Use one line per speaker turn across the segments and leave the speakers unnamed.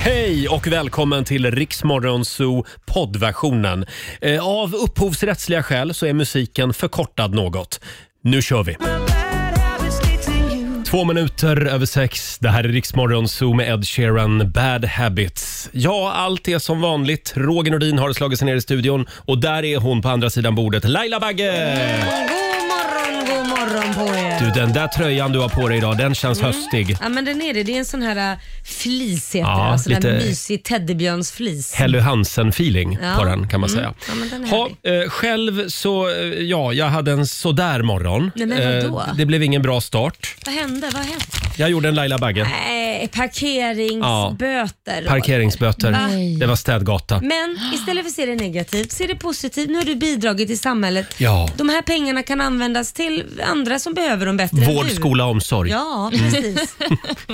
Hej och välkommen till Riksmorgon Zoo poddversionen. Eh, Av upphovsrättsliga skäl så är musiken förkortad något. Nu kör vi! Två minuter över sex. Det här är Riksmorgon Zoo med Ed Sheeran, Bad Habits. Ja, allt är som vanligt. Roger Nordin har slagit sig ner i studion och där är hon på andra sidan bordet, Laila Bagge!
God morgon, god morgon på er.
Du, den där tröjan du har på dig idag, den känns höstig.
Ja men den är det. Det är en sån här äh, flis heter
Ja,
det. Alltså
lite-
en mysig teddybjörnsflis.
Helly Hansen-feeling
Ja.
på den kan man
Mm.
säga.
Ja, men den är
ha, eh, själv så, eh, ja, jag hade en sådär morgon. Eh,
Nej, men vadå?
det blev ingen bra start.
Vad hände? Vad hände?
Jag gjorde en Laila Bagge.
Nej,
Ja.
parkeringsböter.
Parkeringsböter.
Va?
Det var städgata.
Men istället för att se det negativt, se det positivt. Nu har du bidragit till samhället.
Ja.
De här pengarna kan användas till andra som behöver dem bättre än
Vård,
du.
skola, omsorg.
Ja, precis.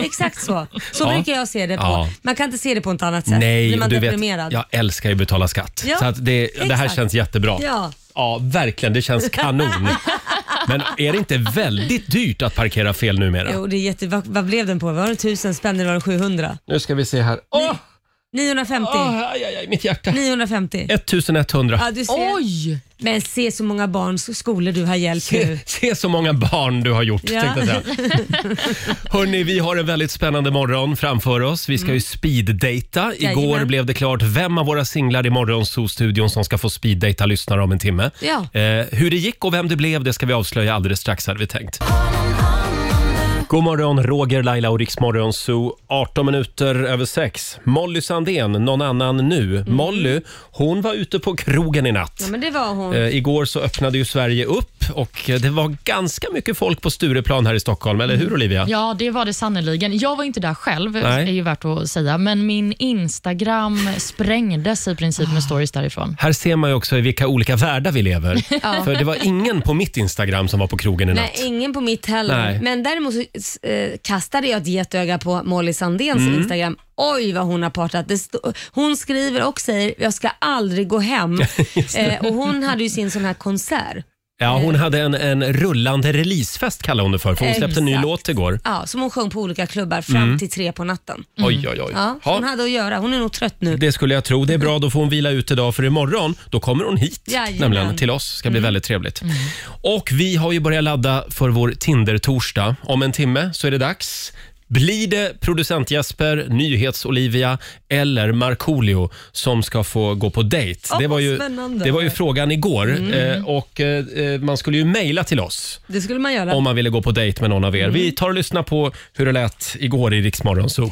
Exakt så. Så
Ja.
brukar jag se det på.
Ja.
Man kan inte se det på något annat sätt.
Nej,
Blir
och
man
du vet,
deprimerad.
jag älskar ju att betala skatt.
Ja,
Så att det, det här
exakt.
känns jättebra.
Ja.
ja, verkligen. Det känns kanon. Men är det inte väldigt dyrt att parkera fel numera?
Jo, det är jätte... vad, vad blev den på? Var det 1000 spänn eller var det 700?
Nu ska vi se här. Åh,
950.
åh, aj, aj, aj, mitt hjärta.
950.
1100.
Ja, du ser.
Oj!
Men se så många barns skolor du har hjälpt nu.
Se så många barn du har gjort,
Ja.
tänkte jag säga. Hörni, vi har en väldigt spännande morgon framför oss. Vi ska ju speeddata. Igår
Mm. Jajamän.
blev det klart vem av våra singlar i Morgonzoo-studion som ska få speeddata lyssnare om en timme.
Ja.
Eh, hur det gick och vem det blev, det ska vi avslöja alldeles strax hade vi tänkt. God morgon, Roger, Laila och Riksmorgon Zoo. 18 minuter över sex. Molly Sandén, någon annan nu. Molly, hon var ute på krogen i natt.
Mm. Ja, men det var hon.
Eh, igår så öppnade ju Sverige upp och eh, det var ganska mycket folk på Stureplan här i Stockholm, eller hur Olivia?
Ja, det var det sannerligen. Jag var inte där själv,
Nej.
är ju värt att säga, men min Instagram sprängdes i princip med stories därifrån.
Här ser man ju också i vilka olika världar vi lever. För det var ingen på mitt Instagram som var på krogen i natt.
Nej, ingen på mitt heller.
Nej.
Men däremot så eh, kastade jag ett getöga på Molly Sandéns
Mm.
Instagram. Oj vad hon har partat. Det stå- hon skriver och säger jag ska aldrig gå hem. eh, och hon hade ju sin sån här konsert.
Ja, hon hade en, en rullande releasefest kallade hon det för, för hon släppte en ny
Exakt.
låt igår.
Ja, som hon sjöng på olika klubbar fram
Mm.
till tre på natten.
Oj, oj, oj.
Mm. Ja,
Ja,
hon hade att göra. Hon är nog trött nu.
Det skulle jag tro. Det är bra, då får hon vila ut idag för imorgon då kommer hon hit
Jajamän. Mm.
nämligen till oss. ska bli väldigt trevligt. Och vi har ju börjat ladda för vår Tinder-torsdag. Om en timme så är det dags. Blir det producent Jesper, nyhets-Olivia eller Markoolio som ska få gå på dejt?
Ja,
det, var ju,
spännande. Mm.
det var ju frågan igår eh, och eh, man skulle ju mejla till oss
Det skulle man göra.
om man ville gå på dejt med någon av er.
Mm.
Vi tar och lyssnar på hur det lät igår i Riksmorgon Zoo.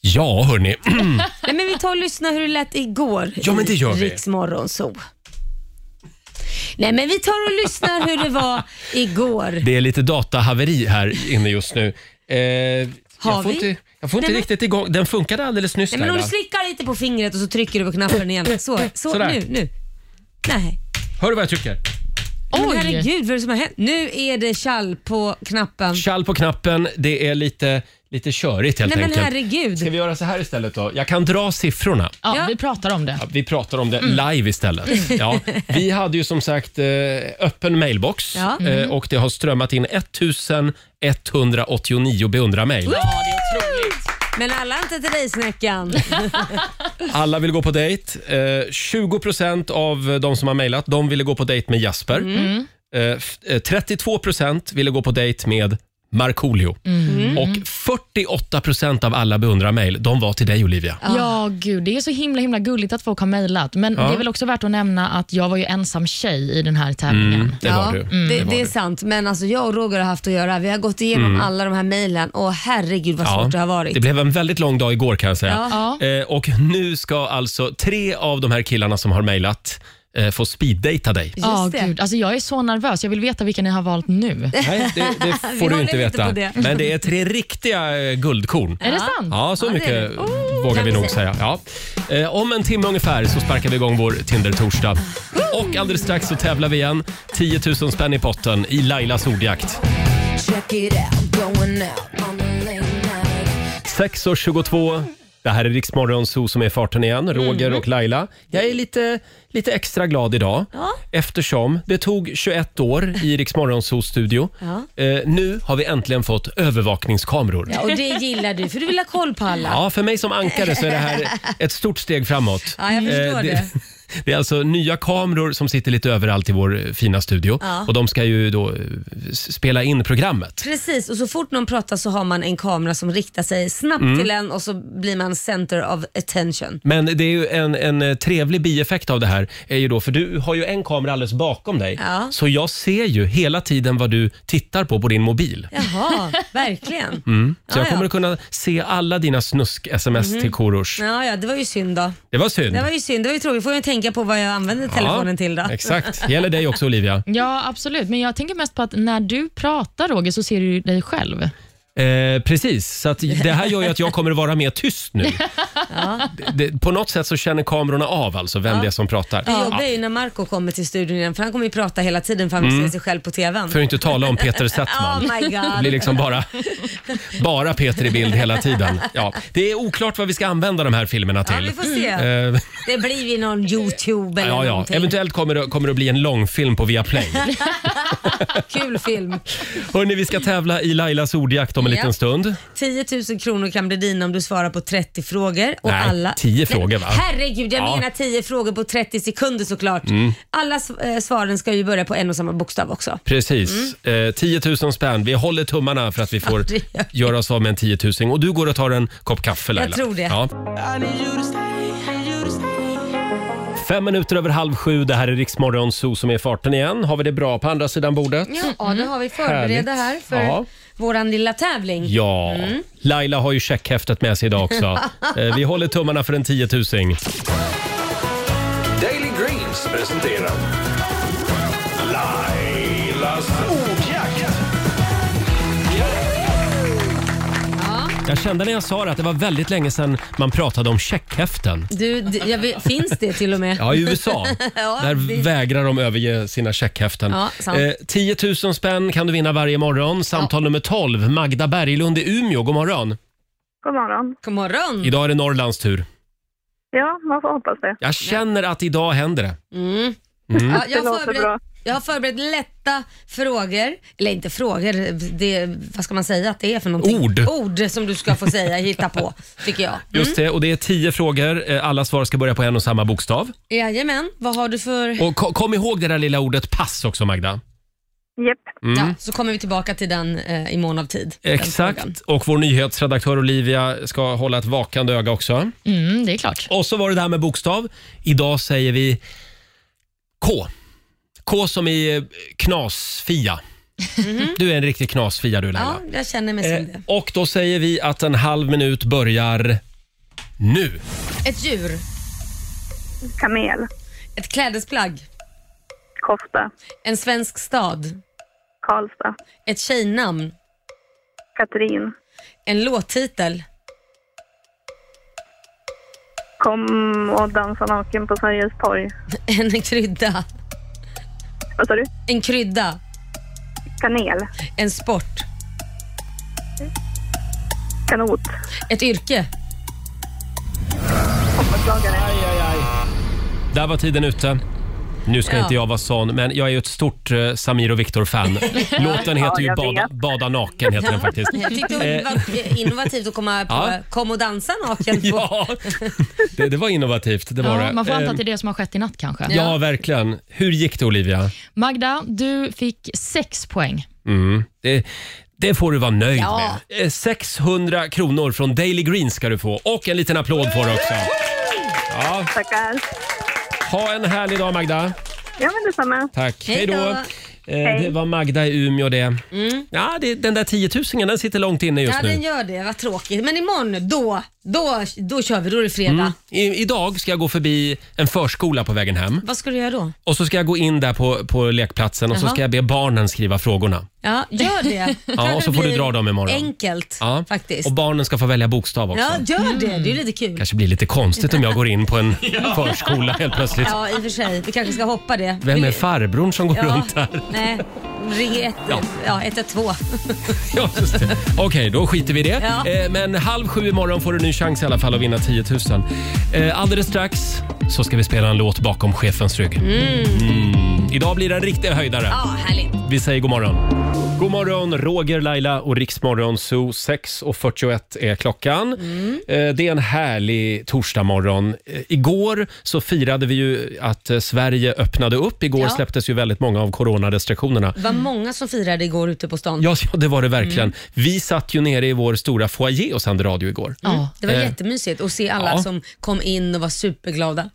Ja, hörni.
Nej, men vi tar och lyssnar hur det lät igår
Ja, men det gör vi.
i Riks Morgonzoo. Nej, men vi tar och lyssnar hur det var igår.
Det är lite datahaveri här inne just nu. Eh, jag
Har
får
vi?
inte, jag får inte
Nej, men-
riktigt igång. Den funkade alldeles nyss.
Nej, men om du
Laila.
slickar lite på fingret och så trycker du på knappen igen. Så, så
Sådär.
nu, nu. Nej.
Hör du vad jag trycker?
Men
Oj.
herregud, vad är det som har hänt? Nu är det kall på knappen.
Kall på knappen. Det är lite, lite körigt helt
Nej men
enkelt. Ska
herregud.
vi göra så här istället då? Jag kan dra siffrorna.
Ja,
Ja.
Vi pratar om det.
Ja, Vi pratar om det live istället. Ja, vi hade ju som sagt eh, öppen mailbox
Ja.
eh, och det har strömmat in 1189 beundrarmejl.
Men alla inte till dig Snäckan.
Alla vill gå på dejt. Eh, 20 av de som har mejlat de ville gå på dejt med Jasper. Eh, f- eh, 32 ville gå på dejt med Markoolio. Och 48 av alla beundrarmejl de var till dig Olivia.
Ja, gud. Det är så himla himla gulligt att folk har mejlat, men det är väl också värt att nämna att jag var ju ensam tjej i den här tävlingen.
Det var du.
det,
var
det är
du. Mm.
sant. Men alltså jag och Roger har haft att göra. Vi har gått igenom alla de här mejlen och herregud vad svårt det har varit.
det blev en väldigt lång dag igår kan jag säga.
Ja.
Eh, och nu ska alltså tre av de här killarna som har mejlat eh, få speeddejta dig.
Just
Ja,
det.
gud. Alltså, jag är så nervös. Jag vill veta vilka ni har valt nu.
Nej, det, det
Vi
får du
håller
inte
inte
veta.
på det.
Men det är tre riktiga eh, guldkorn.
Är det sant?
Ja, så
Ja, det är
mycket
det. Oh,
vågar
kan
vi
vi
nog säga.
säga.
Ja. Eh, om en timme ungefär så sparkar vi igång vår Tinder-torsdag. Och alldeles strax så tävlar vi igen. 10 000 spänn i potten i Lailas ordjakt. 6.22. Det här är Riksmorgon Zoo som är i farten igen,
Mm.
Roger och Laila. Jag är lite, lite extra glad idag
Ja.
eftersom det tog 21 år i Riksmorgon Zoos studio.
Ja.
Eh, nu har vi äntligen fått övervakningskameror.
Ja, och det gillar du för du vill ha koll på alla.
Ja, för mig som ankare så är det här ett stort steg framåt. Eh,
Ja, jag förstår det.
Det är alltså nya kameror som sitter lite överallt i vår eh, fina studio
Ja.
och de ska ju då eh, s- spela in programmet.
Precis, och så fort någon pratar så har man en kamera som riktar sig snabbt
Mm.
till en och så blir man center of attention.
Men det är ju en, en eh, trevlig bieffekt av det här är ju då, för du har ju en kamera alldeles bakom dig,
Ja.
så jag ser ju hela tiden vad du tittar på på din mobil.
Jaha, verkligen.
Så
Ja,
jag kommer
ja.
att kunna se alla dina snusk-sms till Korosh.
Ja, ja, det var ju synd då.
Det var synd.
Det var ju synd, det var ju tråkigt. får jag tänka på vad jag använder telefonen till då.
Exakt. Gäller dig också Olivia.
Ja, absolut. Men jag tänker mest på att när du pratar, Roger, så ser du ju dig själv.
Eh, precis, så att det här gör ju att jag kommer att vara mer tyst nu. det, det, på något sätt så känner kamerorna av alltså vem det är som pratar.
Det jobbiga är ju när Marco kommer till studion igen för han kommer ju prata hela tiden för han vill se sig själv på TVn.
Mm. För att inte tala om Peter
Oh
Settman.
my
Det blir
god.
liksom bara, bara Peter i bild hela tiden. Ja, det är oklart vad vi ska använda de här filmerna
Ja,
till.
vi får se.
Eh,
Det blir ju någon YouTube eller
ja, ja.
någonting.
Eventuellt kommer det, kommer det att bli en långfilm på Viaplay.
Kul film.
Hörni, vi ska tävla i Lailas ordjakt om en
Ja.
liten stund.
10 000 kronor kan bli dina om du svarar på 30 frågor. Och
Nej,
alla...
10 frågor, va?
Herregud, jag
Ja. Mm.
menar 10 frågor på 30 sekunder såklart. Alla s- eh, svaren ska ju börja på en och samma bokstav också.
Precis. Eh, 10 000 spänn. Vi håller tummarna för att vi får
Ja, det gör
göra oss av med en 10 000. Och du går och tar en kopp kaffe Laila.
tror det.
Ja. Fem minuter över halv sju. Det här är Riksmorgon Zoo som är i farten igen. Har vi det bra på andra sidan bordet?
Ja, nu har vi förberedda
Härligt.
här för
Ja.
våran lilla tävling.
Ja.
Mm.
Laila har ju checkhäftet med sig idag också. Eh, vi håller tummarna för en 10 000.
Daily Greens presenterar Lailas ordjakt.
Jag kände när jag sa det att det var väldigt länge sedan man pratade om checkhäften.
Du, d- jag vet, finns det till och med?
Ja, i USA.
Ja,
Där
vi-
vägrar de överge sina checkhäften.
Ja, sant.
10 000 spänn kan du vinna varje morgon. Samtal nummer 12, Magda Berglund i Umeå. God morgon.
God morgon.
God morgon.
Idag är det Norrlands tur.
Ja, man får hoppas det.
Jag känner att idag händer det.
Mm. Ja, jag,
Det
har
låter bra.
förberett, jag har förberett lätta frågor, eller inte frågor, det, vad ska man säga att det är för någonting?
Ord.
Ord som du ska få säga, hitta på, tycker jag.
Just det, och det är 10 frågor. Eh, Alla svar ska börja på en och samma bokstav.
Mm. Jajamän, vad har du för...
Och ko- kom ihåg det där lilla ordet pass också, Magda.
Japp.
Ja, så kommer vi tillbaka till den eh, i mån av tid. den frågan.
Mm. Exakt. Och vår nyhetsredaktör Olivia ska hålla ett vakande öga också.
Mm, det är klart.
Och så var det det här med bokstav. Idag säger vi K. K som i eh, knasfia. Du är en riktig knasfia du Laila.
Mhm. Ja, jag känner mig
Eh,
som det.
och då säger vi att en halv minut börjar nu.
Ett djur,
Kamel.
ett klädesplagg,
Kofta.
en svensk stad,
Karlstad.
ett tjejnamn,
Katrin.
en låttitel,
Kom och dansa naken på Sergels torg.
en krydda,
Vad sa du?
en krydda,
Kanel.
en sport,
Kanot.
ett yrke.
Hoppaslagare.
Där var tiden ute. Nu ska
Ja.
inte jag vara sån, men jag är ju ett stort eh, Samir och Viktor-fan. Låten heter ju
jag
Bada,
vet.
Bada naken. Heter den faktiskt.
Jag tyckte det var innovativt att komma på
Eh. Ja.
kom och dansa naken. På.
Ja, det, det var innovativt. Det var
Ja,
det.
man får anta
Eh,
att det är det som har skett i natt kanske.
Ja, verkligen. Hur gick det Olivia?
Magda, du fick sex poäng.
Mm. Det, det får du vara nöjd
Ja.
med. Eh, 600 kronor från Daily Green ska du få och en liten applåd får du också. Ja.
Tackar.
Ha en härlig dag Magda.
Ja, men detsamma.
Tack.
Hej
Hej
då. Mm.
då. Eh, det var Magda i Umeå det. Ja, det den där tiotusingen den sitter långt inne just
Ja, den
nu.
gör det. Vad tråkigt. Men imorgon, då, då, då kör vi. Då är det fredag.
I, idag ska jag gå förbi en förskola på vägen hem
Vad ska du göra då?
och så ska jag gå in där på, på lekplatsen och så
Jaha.
ska jag be barnen skriva frågorna.
Ja, gör det.
Ja, och så får du dra dem imorgon.
Enkelt
Ja.
faktiskt.
Och barnen ska få välja bokstav också. Mm.
Ja, gör det. Det är ju lite kul.
kanske blir lite konstigt om jag går in på en förskola helt plötsligt.
Ja, i och för sig. Vi kanske ska hoppa det.
Vem
Vill-
är farbrorn som går
ja,
runt här?
Nej, ring ett, ja.
Ja.
Ja, 112.
Ja, just det. Okej, då skiter vi i det.
Ja.
Eh, Men halv sju imorgon får du en ny chans i alla fall att vinna 10 000. Eh, Alldeles strax så ska vi spela en låt bakom chefens rygg. Mm. Idag blir det en riktig höjdare.
Ja, härligt.
Vi säger god morgon. God morgon, Roger, Laila och Riksmorgon Zoo. 6.41 är klockan.
Mm.
Eh, Det är en härlig torsdagmorgon. Eh, Igår så firade vi ju att eh, Sverige öppnade upp. Igår
Ja.
släpptes ju väldigt många av coronarestriktionerna.
Det var många som firade igår ute på stan.
Ja, ja, det var det
Mm.
verkligen. Vi satt ju nere i vår stora foyer och sände radio igår.
Ja.
Mm. Det var
Eh.
jättemysigt att se alla
Ja. Mm,
som kom in och var superglada.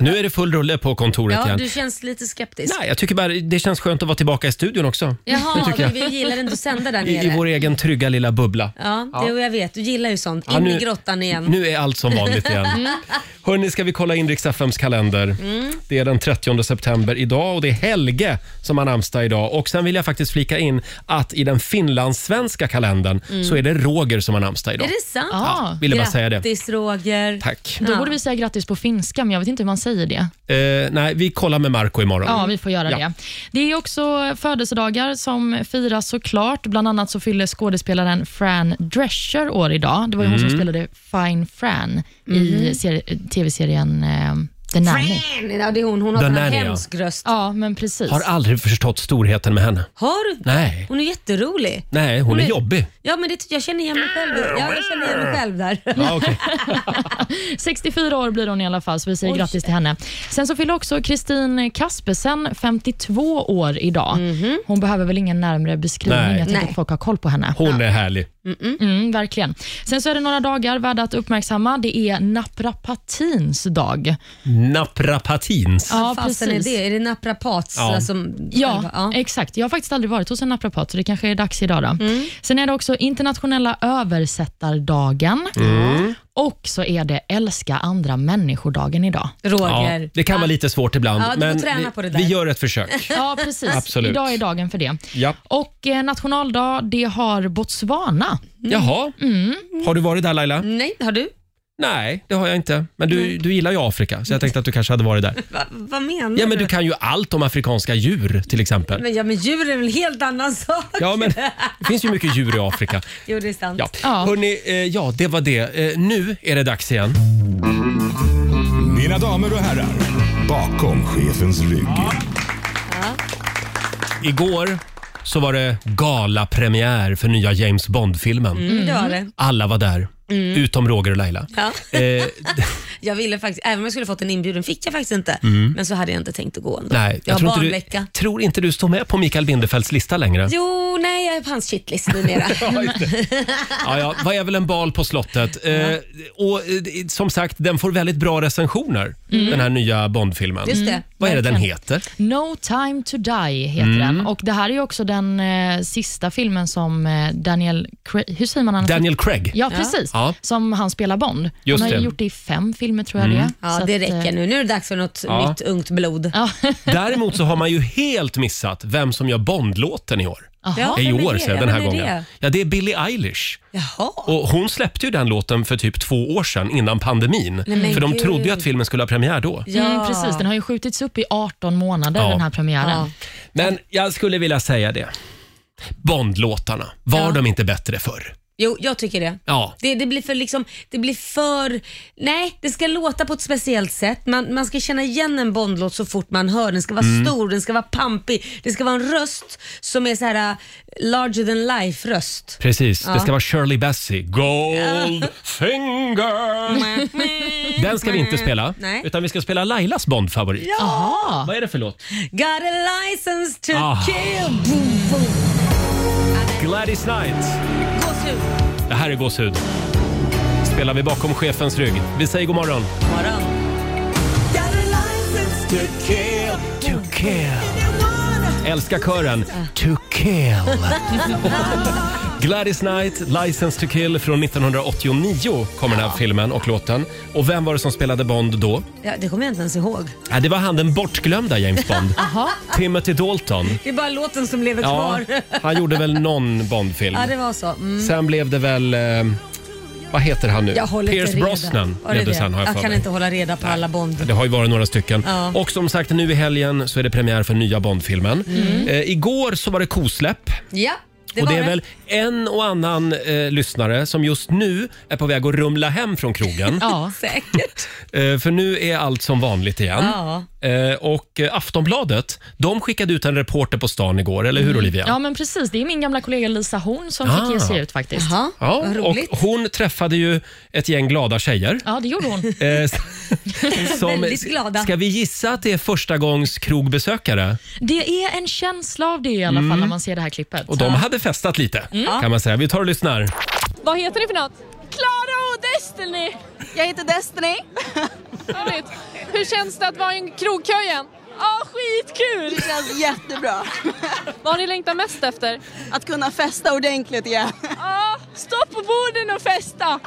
Nu är det full rulle på kontoret
Ja,
igen.
du känns lite skeptisk.
Nej, jag tycker bara det känns skönt att vara tillbaka i studion också. Det
Jaha,
tycker
men
jag.
vi gillar ändå att sända där
I,
nere.
I vår egen trygga lilla bubbla.
Ja, det, och jag vet. Du gillar ju sånt. In
Ja, nu-
i grottan igen.
Nu är allt som vanligt igen.
Mm.
Hörni, ska vi kolla in Rix FMs kalender. Det är den 30 september idag och det är Helge som har namnsdag idag. Och sen vill jag faktiskt flika in att i den finlandssvenska kalendern så är det Roger som har namnsdag idag.
Mm. Är det sant?
Ja.
Ville bara säga det.
Grattis Roger.
Tack.
Då
Ja.
borde vi säga grattis på finska, men jag vet inte hur man säger det.
Eh, nej, vi kollar med Marco imorgon.
Ja, vi får göra
Mm. Ja.
det. Det är också födelsedagar som firas såklart. Bland annat så fyller skådespelaren Fran Drescher år idag. Det var ju hon som spelade Fine Fran i seri- tv-serien eh, The Nanny.
Fran! Ja, det är hon. Hon har
Den
en
är det, ja.
hemsk röst.
Ja, men precis.
Har aldrig förstått storheten med henne.
Har du?
Nej,
Hon är jätterolig.
nej hon är jobbig.
Ja, men det, jag känner igen mig själv. Ja, jag känner igen mig själv där.
Ja, okej.
64 år blir hon i alla fall, så vi säger
Oj.
grattis till henne. Sen så fyller också Kristin Kaspersen 52 år idag. Hon behöver väl ingen närmre beskrivning.
Nej.
Jag tänker
Mhm. Nej.
att folk har koll på henne.
Hon är härlig.
Mm, verkligen. Sen så är det några dagar värda att uppmärksamma. Det är naprapatins dag.
Naprapatins.
Ja,
Fasen är det? Är det naprapat?
Ja.
Alltså,
Ja,
ja.
exakt. Jag har faktiskt aldrig varit hos en naprapat, så det kanske är dags idag. Då.
Mm.
Sen är det också internationella översättardagen.
Mm.
Och så är det älska andra människor-dagen idag.
Roger.
Ja, det kan vara lite svårt ibland,
Ja, du får
men
träna
vi,
på det där.
vi gör ett försök.
Ja, precis.
Absolut.
Idag är dagen för det.
Ja.
Och eh, nationaldag, det har Botswana.
Mm.
Jaha, har du varit där Laila?
Nej, har du?
Nej, det har jag inte. Men du, du gillar ju Afrika, så jag tänkte att du kanske hade varit där.
Va, vad menar
Ja, men du kan ju allt om afrikanska djur till exempel.
Men, ja, men djur är väl en helt annan sak?
Ja, men det finns ju mycket djur i Afrika.
Jo, det är sant.
Ja,
Ja.
Hörrni, eh, ja det var det. Eh, nu är det dags igen.
Mina damer och herrar, bakom chefens rygg.
Igår så var det galapremiär för nya James Bond-filmen.
Mm. Det var det.
Alla var där, utom Roger och Laila.
Ja.
Eh,
Jag ville faktiskt, även om jag skulle fått en inbjudan fick jag faktiskt inte. Men så hade jag inte tänkt att gå ändå.
Mm. nej,
jag, har
tror, inte
barnvecka.
du, tror inte du står med på Mikael Bindefelds lista längre.
Jo, nej jag är på hans shitlist numera.
Ja, ja, vad är väl en bal på slottet? Eh, och eh, som sagt, den får väldigt bra recensioner, den här nya Bondfilmen.
Mm. Just det.
Vad är det den
verkligen.
heter?
No time to die heter
Mm.
den. Och Det här är ju också den eh, sista filmen som eh, Daniel... Cra- hur säger man hans
Daniel Craig.
Ja, precis.
Ja.
Som han spelar Bond.
Just
han har
det. Mm.
ju gjort det i fem filmer, tror jag det är.
Ja,
Så
det
att, eh,
räcker nu. Nu är det dags för något
Ja.
nytt ungt blod.
Ja.
Däremot så har man ju helt missat vem som gör Bondlåten i år.
Jaha.
I
vem är
år
det?
sedan, den
Vem
här
är
gången.
det?
Ja, det är Billie Eilish.
Jaha.
Och hon släppte ju den låten för typ två år sedan, innan pandemin.
men
för de
gud.
trodde ju att filmen skulle ha premiär då.
Mm, precis. Den har ju skjutits upp i 18 månader,
Ja.
den här premiären.
Ja.
Men jag skulle vilja säga det. Bondlåtarna, var
Ja.
de inte bättre förr?
Jo, jag tycker det.
Ja.
Det, det blir för liksom, det blir för... Nej, det ska låta på ett speciellt sätt. Man, man ska känna igen en Bondlåt så fort man hör den. ska vara
Mm.
stor, den ska vara pampig. Det ska vara en röst som är så här äh, larger than life röst.
Precis, det ska vara Shirley Bassey. Goldfinger! Den ska vi inte spela,
Nej.
utan vi ska spela Lailas Bondfavorit.
Jaha.
Vad är det för låt?
Got a license to
Ah.
kill. Boom, boom.
Gladys Knight.
Gåshud.
Det här är Gåshud. Spelar vi bakom chefens rygg. Vi säger god morgon.
Morgon.
To kill. Älskar kören. To kill. Gladys Knight, License to kill från 1989 kommer den här filmen och låten. Och vem var det som spelade Bond då?
Ja, det kommer jag inte ens ihåg.
Ja, det var han den bortglömda James Bond. Timothy Dalton.
Det är bara låten som lever
Ja,
kvar.
han gjorde väl någon Bondfilm.
Ja, det var så. Mm.
Sen blev det väl eh, Vad heter han nu?
Jag håller
Pierce
inte reda.
Brosnan
Var det
blev det
det?
sen har jag,
jag
för
kan
mig.
inte hålla reda på alla Bond.
Det har ju varit några stycken.
Ja.
Och som sagt, nu i helgen så är det premiär för nya Bondfilmen. Eh, igår så var det kosläpp.
Ja, Mm. det
och
var
det är
det.
väl en och annan eh, lyssnare som just nu är på väg att rumla hem från krogen.
Ja.
Säkert.
Eh, för nu är allt som vanligt igen.
Ja.
Eh, och eh, Aftonbladet, de skickade ut en reporter på stan igår, eller
Mm.
hur Olivia?
ja, men precis. Det är min gamla kollega Lisa Horn som
Ah.
fick ge sig ut faktiskt.
Jaha,
Ja, och
vad roligt.
hon träffade ju ett gäng glada tjejer.
Ja, det gjorde hon.
Eh,
Väldigt glada.
Ska vi gissa att det är första gångs krogbesökare?
Det är en känsla av det i alla fall när man ser det här klippet.
Mm. Och de hade festat lite
Mm.
kan man säga. Vi tar och lyssnar.
Vad heter ni för något? Klara och Destiny! Jag heter Destiny. Härligt. Hur känns det att vara i en krogköjen? Ja, skitkul!
Det känns jättebra.
Vad har ni längtat mest efter?
Att kunna festa ordentligt igen.
Ja, stå på borden och festa!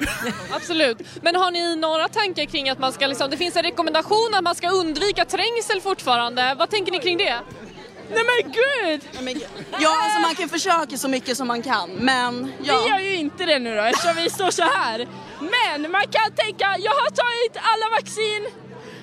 Absolut. Men har ni några tankar kring att man ska liksom, det finns en rekommendation att man ska undvika trängsel fortfarande. Vad tänker ni kring det? Nej men gud!
Ja, alltså man kan försöka så mycket som man kan, men
Vi gör
ja.
ju inte det nu då eftersom vi står så här. Men man kan tänka, jag har tagit alla vaccin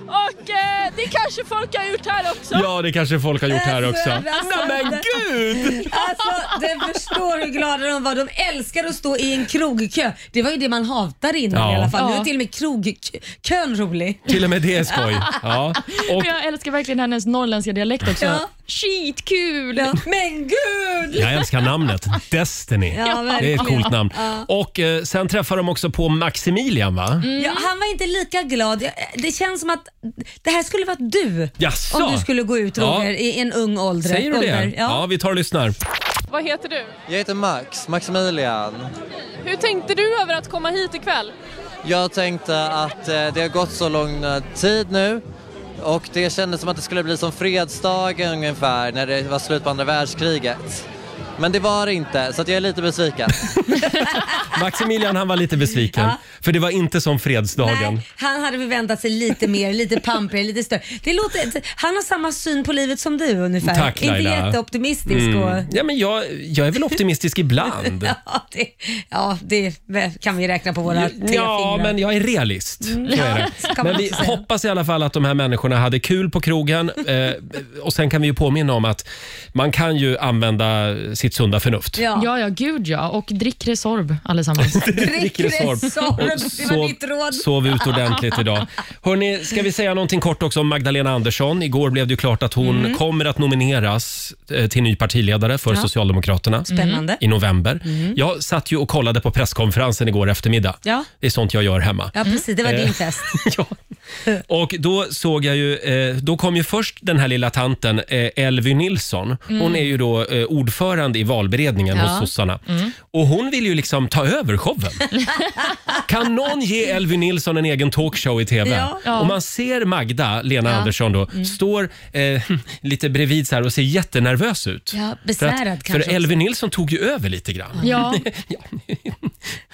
och eh, det kanske folk har gjort här också.
Ja, det kanske folk har gjort här också.
Alltså, alltså.
Nej, men gud!
Alltså, du förstår hur glada de var. De älskar att stå i en krogkö. Det var ju det man hatade innan
Ja.
i alla fall. Nu
Ja.
är till och med krogkön rolig.
Till och med det är skoj. Ja. Och
Men Jag älskar verkligen hennes norrländska dialekt också.
Ja.
Skitkul!
Ja. Men gud!
jag älskar namnet. Destiny.
Ja,
det är
verkligen.
ett coolt namn.
Ja. Mm.
Och eh, sen träffar de också på Maximilian va?
Ja, han var inte lika glad. Jag- Det känns som att det här skulle varit du.
Jaså?
Om du skulle gå ut
Ja.
Roger, i en ung ålder.
Säger du
ålder.
det? Ja,
Ja.
vi tar och lyssnar.
Vad heter du?
Jag heter Max, Maximilian.
Hur tänkte du över att komma hit ikväll?
Jag tänkte att eh, det har gått så lång eh, tid nu och det kändes som att det skulle bli som fredsdagen ungefär när det var slut på andra världskriget. Men det var det inte, så att jag är lite besviken.
Maximilian han var lite besviken. För det var inte som fredsdagen.
Nej, han hade väl väntat sig lite mer, lite pampigare, lite större. Det låter, han har samma syn på livet som du ungefär.
Tack,
inte
Laila. Mm.
jätteoptimistisk. Och,
Ja, men jag, jag är väl optimistisk ibland.
ja, det, ja, det kan vi räkna på våra tre
Ja,
fingrar.
men jag är realist. Så är det.
Så kan man
Men vi
också säga.
hoppas i alla fall att de här människorna hade kul på krogen. Eh, och Sen kan vi ju påminna om att man kan ju använda sitt sunda förnuft.
Ja.
Ja, ja, gud ja. Och drick Resorb allesammans.
Drick Resorb.
Och
Det var mitt råd.
sov ut ordentligt idag. Hörrni, ska vi säga någonting kort också om Magdalena Andersson? Igår blev det ju klart att hon
Mm.
kommer att nomineras eh, till ny partiledare för Socialdemokraterna.
Spännande.
i november. Jag satt ju och kollade på presskonferensen igår eftermiddag.
Mm. Ja.
Det är sånt jag gör hemma.
Ja, precis. Det var
Eh.
din fest.
Ja. Och då såg jag ju, eh, då kom ju först den här lilla tanten eh, Elvy Nilsson.
Mm.
Hon är ju då eh, ordförande i valberedningen hos sossarna.
Mm.
Och hon vill ju liksom ta över showen. kan någon ge Elvy Nilsson en egen talkshow i TV?
Ja. Mm.
Ja.
Och man ser Magda, Lena Andersson då, står eh, lite bredvid så här och ser jättenervös ut.
Ja,
För,
besvärad
att,
kanske
för Elvy Nilsson tog ju över lite grann.
Ja,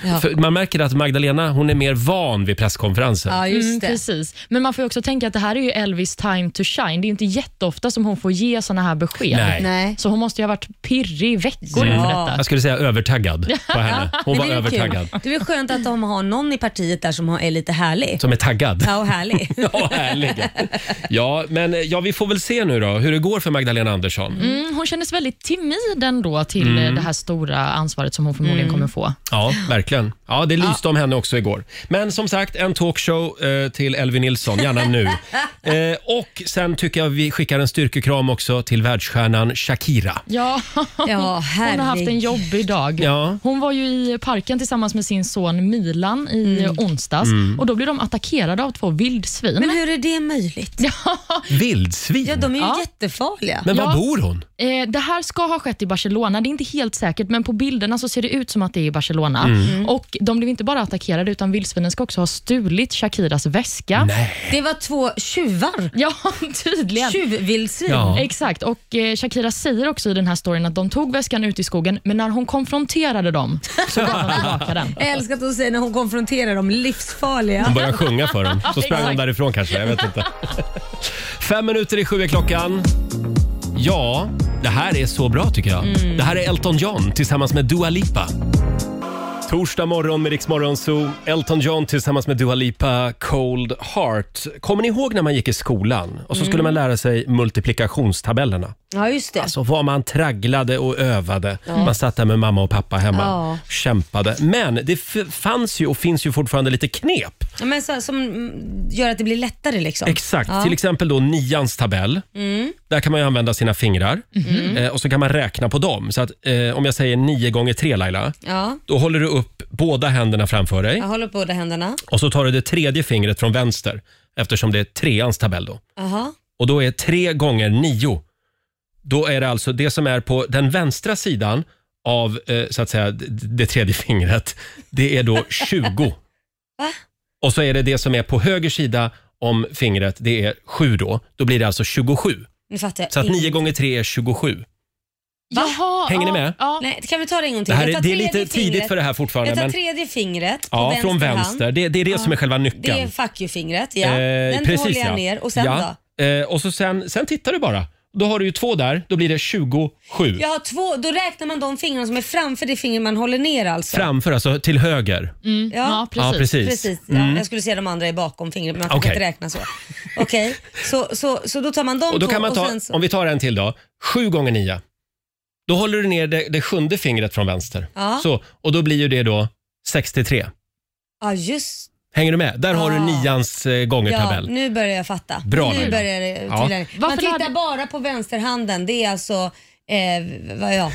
Ja.
För man märker att Magdalena hon är mer van vid presskonferenser.
Ja,
mm,
just det.
precis. Men man får ju också tänka att det här är ju Elvis time to shine. Det är ju inte jätteofta som hon får ge såna här besked.
Nej.
Nej.
Så hon måste ju ha varit pirrig i veckor
Ja.
inför detta.
Jag skulle säga övertaggad på henne. Hon var
det är ju kul.
övertaggad.
Det är väl skönt att de har någon i partiet där som har- är lite härlig.
Som är taggad.
Ja, och härlig.
Ja, härlig. Ja, men eh, ja, vi får väl se nu då hur det går för Magdalena Andersson.
Mm, hon kändes väldigt timid ändå till eh, det här stora ansvaret som hon förmodligen kommer få.
Ja, verkligen. Ja, det lyste om henne också igår. Men som sagt, en talkshow eh, till Elvin Nilsson, gärna nu. Eh, och sen tycker jag vi skickar en styrkekram också till världsstjärnan Shakira.
Ja,
Ja,
hon har haft en
herregud.
jobbig dag.
Ja.
Hon var ju i parken tillsammans med sin son Milan
Mm.
i eh, onsdags
Mm.
och då blev de attackerade av två vildsvin.
Men hur är det möjligt?
Vildsvin?
Ja, de är ju
Ja.
jättefarliga.
Men var
Ja.
bor hon?
Eh, det här ska ha skett i Barcelona, det är inte helt säkert, men på bilderna så ser det ut som att det är i Barcelona.
Mm.
Mm.
Och De blev inte bara attackerade, utan vildsvinen ska också ha stulit Shakiras väska.
Det var två tjuvar.
Ja, tydligen.
Tjuvvildsvin.
Ja.
Exakt. Och eh, Shakira säger också i den här storyn att de tog väskan ut i skogen, men när hon konfronterade dem så gav de tillbaka den.
Jag älskar att hon säger när hon konfronterar dem, livsfarliga.
Hon började sjunga för dem. Så sprang hon
Exakt.
därifrån kanske. Jag vet inte. Fem minuter i sju är klockan. Ja, det här är så bra tycker jag. Det här är Elton John tillsammans med Dua Lipa. Torsdag morgon med Rix Morgon Zoo. Elton John tillsammans med Dua Lipa, Cold Heart. Kommer ni ihåg när man gick i skolan och så skulle man lära sig multiplikationstabellerna?
Ja, just det.
Så var man tragglade och övade. Man satt där med mamma och pappa hemma
Ja.
kämpade. Men det f- fanns ju och finns ju fortfarande lite knep.
Ja, Men så, som mm, gör att det blir lättare liksom.
Exakt, till exempel då nians tabell. Där kan man ju använda sina fingrar eh, och så kan man räkna på dem. Så att, eh, om jag säger 9 gånger 3 Laila,
Ja.
då håller du upp båda händerna framför dig
Jag håller på båda händerna.
och så tar du det tredje fingret från vänster eftersom det är treans tabell då.
Aha.
Och då är 3 gånger 9. Då är det alltså det som är på den vänstra sidan av eh, så att säga d- d- det tredje fingret. Det är då 20.
Va?
Och så är det det som är på höger sida om fingret, det är 7 då. Då blir det alltså 27.
Nu fattar jag.
Så att
In-
9 gånger 3 är 27.
Jaha,
Hänger ni
ja,
med?
Ja.
Nej, kan vi ta det en gång till?
Det, här
Jag
är,
tar
det är
tredje
lite tidigt
fingret.
för det här fortfarande.
Jag tar
Men,
tredje fingret på
ja,
vänster
från
hand.
vänster. Det, det är det som är själva
Det är
nyckeln.
fuck you-fingret. Ja.
Eh,
Den håller jag
ja.
ner. Och sen
ja.
då?
Eh, och så sen, sen tittar du bara. Då har du ju två där, då blir det 27.
Jag har två, då räknar man de fingrarna som är framför det finger man håller ner alltså.
Framför, alltså till höger.
Ja.
Ja, precis.
Ja, precis.
Mm,
Mm.
Precis, ja. jag skulle säga de andra är bakom fingret men man kan
Okej.
inte räkna så. Okej, så, så, så då tar man de
Och då
två
kan man
och
ta,
sen så...
om vi tar en till då, 7 gånger 9. Då håller du ner det, det sjunde fingret från vänster.
Ja.
Så, och då blir ju det då 63.
Ja, just
Hänger du med? Där har du
Ah.
nians eh,
ja,
gångertabell.
nu börjar jag fatta.
Bra,
nu
Laila.
börjar det
Ja.
tydligare. Man
Varför
tittar
hade-
bara på vänsterhanden, det är alltså, eh, vad ja.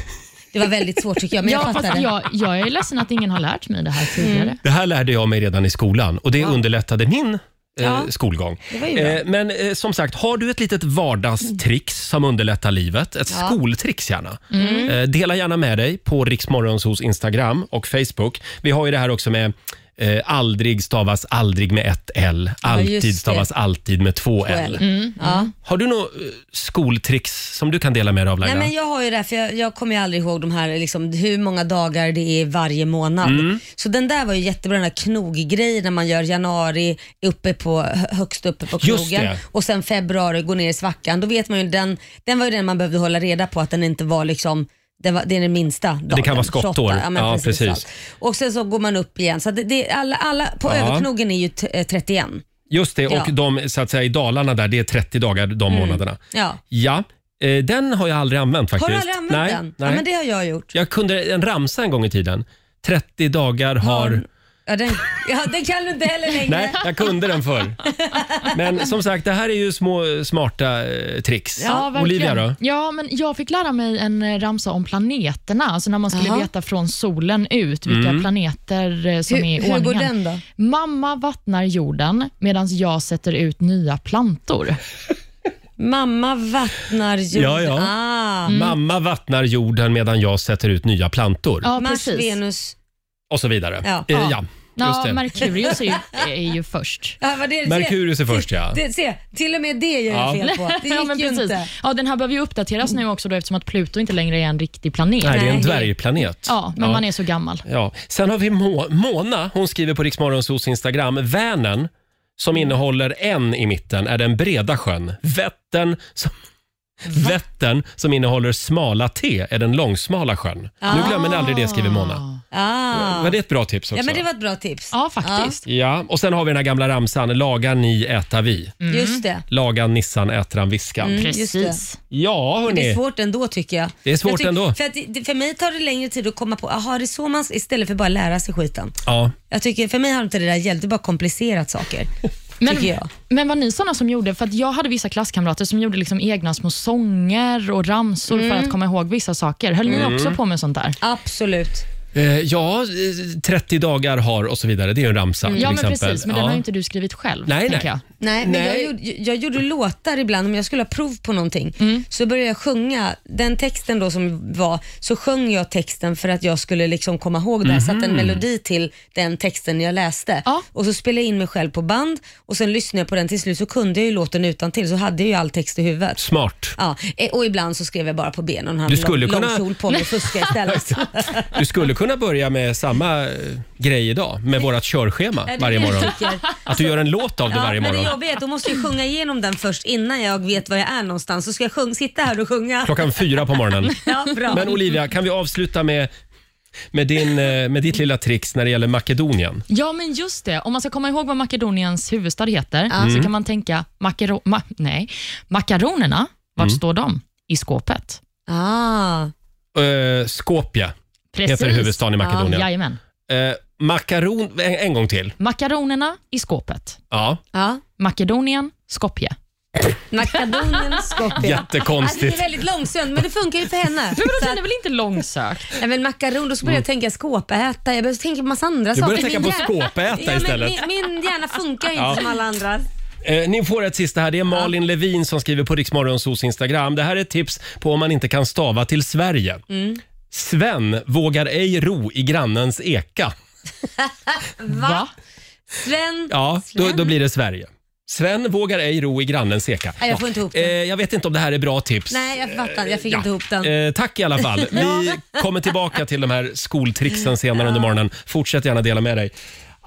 Det var väldigt svårt tycker jag, men jag
Ja,
fattar
fast
det. Mm.
jag, jag är ledsen att ingen har lärt mig det här tidigare.
Det här lärde jag mig redan i skolan och det underlättade min eh,
Ja.
skolgång.
Det var ju bra.
Eh, men eh, som sagt, har du ett litet vardagstrix som underlättar livet, ett
Ja. Mm.
skoltrix gärna, eh, dela gärna med dig på Riksmorgonsos Instagram och Facebook. Vi har ju det här också med eh, aldrig stavas aldrig med ett L,
just det.
alltid stavas alltid med två L.
Mm.
Ja.
Har du något eh, skoltrix som du kan dela med dig av Laila?
Nej, men jag har ju det här, för jag, jag kommer ju aldrig ihåg de här, liksom, hur många dagar det är varje månad.
Mm.
Så den där var ju jättebra, den här knoggrejen när man gör januari uppe på, hö- högst uppe på
Just
knogen
det.
och sen februari går ner i svackan. Då vet man ju, den, den var ju den man behövde hålla reda på att den inte var liksom den var, det är den minsta dagen.
kan vara skottår.
28. Ja, men
Ja,
precis.
precis.
allt. Och sen så går man upp igen. Så det, det, alla, alla, på
Ja.
överknogen är ju t- eh, 31.
Just det, och
Ja. Mm.
de så att säga, i Dalarna där, det är 30 dagar de månaderna.
Ja.
Ja, eh, den har jag aldrig använt faktiskt.
Har du aldrig använt
nej,
den?
Nej.
Ja, men det har jag gjort.
Jag kunde en ramsa en gång i tiden. 30 dagar har...
Ja, den, ja, den kan du inte heller längre.
Nej, jag kunde den förr. Men som sagt, det här är ju små smarta eh, tricks.
Ja, verkligen. Mm.
Olivia då?
Ja, men jag fick lära mig en eh, ramsa om planeterna, alltså när man skulle
Jaha.
veta från solen ut vilka planeter eh, som
Mm. Hur-
är i
hur går
ordningen.
den då?
Mamma vattnar jorden medan jag sätter ut nya plantor.
Mamma vattnar jorden.
Ja, ja.
Ah.
Mamma vattnar jorden medan jag sätter ut nya plantor.
Ja,
Mars,
precis.
Venus.
Och så vidare.
Ja.
Eh, ja just
Ja,
det.
Merkurius är ju, är ju först.
Ja, vad det är,
Merkurius är
se,
först, ja.
Det, se, till och med det gör jag
Ja.
fel på. Det gick
ja, men
ju
precis.
inte.
Ja, den här behöver ju uppdateras nu också då, eftersom att Pluto inte längre är en riktig planet.
Nej, det är en
Nej.
dvärgplanet.
Ja, men man är så gammal.
Ja. Sen har vi Mo- Mona, hon skriver på Riksmorgonsos Instagram, Vänern
Mm.
som innehåller en i mitten är den breda sjön. Vättern som, Vättern som innehåller smala T är den långsmala sjön. Nu glömmer ni aldrig det, skriver Mona.
Ah.
Var det ett bra tips också?
Ja, men det var ett bra tips.
Ja, faktiskt.
Ja, och sen har vi den här gamla ramsan, laga ni äta vi.
Mm.
Just det.
Laga nissan ätran viskan.
just
Precis.
det.
Ja,
Men Mm. det är
hörni.
svårt ändå tycker jag.
Det är svårt
jag tycker-
ändå.
För, att, det- för mig tar det längre tid att komma på, jaha det är så man, istället för bara lära sig skiten.
Ja.
Jag tycker, för mig har inte det där hjälpt, det är bara komplicerat saker.
Men,
tycker jag.
men var ni sådana som gjorde, för att jag hade vissa klasskamrater som gjorde liksom egna små sånger och ramsor
Mm.
för att komma ihåg vissa saker. Höll ni också på med sånt där?
Absolut.
Eh, ja, eh, 30 dagar har och så vidare. Det är ju en ramsa
Mm.
till
Ja, men
exempel.
precis. Men
ja.
den har ju inte du skrivit själv.
Nej,
tänker
nej.
Jag.
Nej, men
Nej.
Jag, gjorde, jag gjorde låtar ibland om jag skulle ha prov på någonting.
Mm.
Så började jag sjunga, den texten då som var, så sjöng jag texten för att jag skulle liksom komma ihåg det. Jag satte
Mhm.
en melodi till den texten jag läste.
Ja.
Och så spelade jag in mig själv på band och sen lyssnade jag på den till slut så kunde jag ju låten utan till så hade jag ju all text i huvudet.
Smart.
Ja, eh, och ibland så skrev jag bara på benen och hade
Du skulle
lång,
kunna-
lång kjol på mig och fuskade istället.
Du skulle kunna börja med samma eh, grej idag, med vårt körschema
det
varje
är det jag
morgon.
tycker.
Att du gör en låt av det varje
men
morgon.
det jobbiga är att då måste jag sjunga igenom den först innan jag vet var jag är någonstans. Så ska jag sjung, sitta här och sjunga.
Klockan fyra på morgonen.
Ja, bra.
Men Olivia, kan vi avsluta med med, din, eh, med ditt lilla trix när det gäller Makedonien.
Ja, men just det. Om man ska komma ihåg vad Makedoniens huvudstad heter
Mm.
så kan man tänka makaro- ma- nej. makaronerna, vart
Mm.
står de? I skåpet.
Ah.
Uh, Skopje
Precis.
heter huvudstaden i
Ja,
Makedonien.
jajamän.
Eh, makaron, en, en gång till.
Makaronerna i skåpet.
Ja,
Ja.
Makedonien, Skopje.
Makedonien Skopje. Alltså, det är
jättekonstigt.
väldigt långsökt, men det funkar ju för henne.
Men
Så
det
att,
är väl inte långsökt?
nej, men makaron, då så började jag tänka skåpäta. Jag började tänka på massa andra
Mm. Du
saker.
börjar tänka
Min
på
hjärna-
skåpäta istället.
Ja, men min, min hjärna funkar ju inte
Ja.
som alla andra.
Eh, ni får ett sista här. Det är Malin Levin som skriver på Riksmorgonsos Instagram. Det här är ett tips på om man inte kan stava till Sverige.
Mm.
Sven vågar ej ro i grannens eka.
Va?
Va?
Sven?
Ja, då,
Sven?
då blir det Sverige. Sven vågar ej ro i grannens eka.
Nej, jag får inte ihop
Eh,
det.
jag vet inte om det här är bra tips.
Nej, jag fattar. Jag fick
Ja.
inte ihop den.
Eh, tack i alla fall. Vi kommer tillbaka till de här skoltricksen senare under morgonen. Fortsätt gärna dela med dig.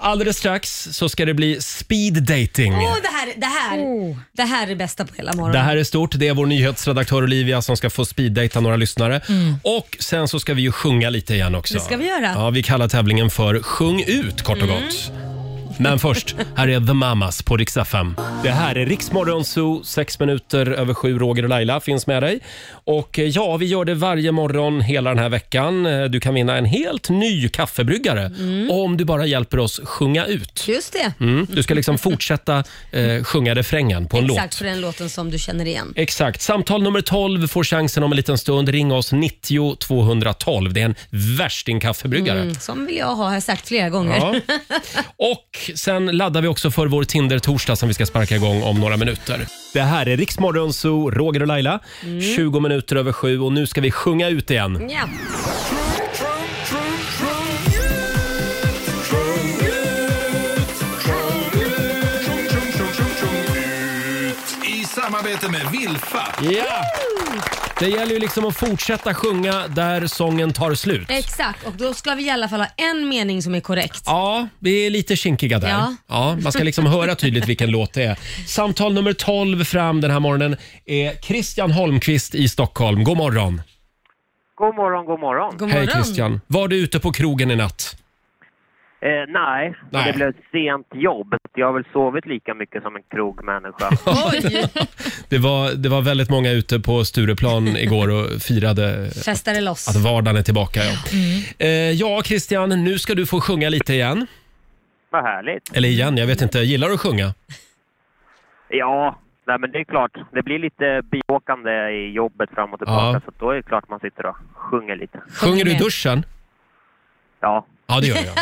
Alldeles strax så ska det bli speed dating.
Åh, det, här, det, här, det här är det bästa på hela morgonen.
Det här är stort. Det är vår nyhetsredaktör Olivia som ska få speeddejta några lyssnare. Och sen så ska vi ju sjunga lite igen också.
Mm. Det ska vi göra. Mm.
Ja, vi kallar tävlingen för Sjung ut kort och gott. Men först, här är The Mamas på Rix FM. Det här är Riksmorgon Zoo, sex minuter över sju. Roger och Laila finns med dig. Och eh, ja, vi gör det varje morgon hela den här veckan. Eh, Du kan vinna en helt ny kaffebryggare
Mm.
om du bara hjälper oss sjunga ut.
Just det.
Mm. Du ska liksom fortsätta eh, sjunga refrängen på en låt.
Exakt, för den låten som du känner igen.
Exakt. Samtal nummer 12 får chansen om en liten stund. Ring oss 90 212. Det är en värstingkaffebryggare.
Mm, som vill jag ha, har jag sagt flera gånger.
Ja. Och sen laddar vi också för vår Tinder-torsdag som vi ska sparka igång om några minuter. Det här är Riksmorgon Zoo, Roger och Laila. 20 minuter över sju och nu ska vi sjunga ut igen.
Ja.
I samarbete med Vilfa.
Ja! Det gäller ju liksom att fortsätta sjunga där sången tar slut.
Exakt, och då ska vi i alla fall ha en mening som är korrekt.
Ja, vi är lite kinkiga där. Ja.
Ja.
man ska liksom höra tydligt vilken låt det är. Samtal nummer 12 fram den här morgonen är Christian Holmqvist i Stockholm. God morgon.
God morgon, god morgon.
God
Hej
morgon.
Christian. Var du ute på krogen i natt?
Eh, nej,
Nej.
det blev ett sent jobb. Jag har väl sovit lika mycket som en krogmänniska.
Det var, det var väldigt många ute på Stureplan igår och firade
Festade loss.
att vardagen är tillbaka. Ja.
Mm.
Eh, ja, Christian, nu ska du få sjunga lite igen.
Vad härligt.
Eller igen, jag vet inte. Gillar du att sjunga?
Ja, nej, men det är klart. Det blir lite biåkande i jobbet fram och tillbaka,
Ja.
så då är det klart man sitter och sjunger lite.
Sjunger du i
med.
duschen?
Ja.
Ja, det gör jag.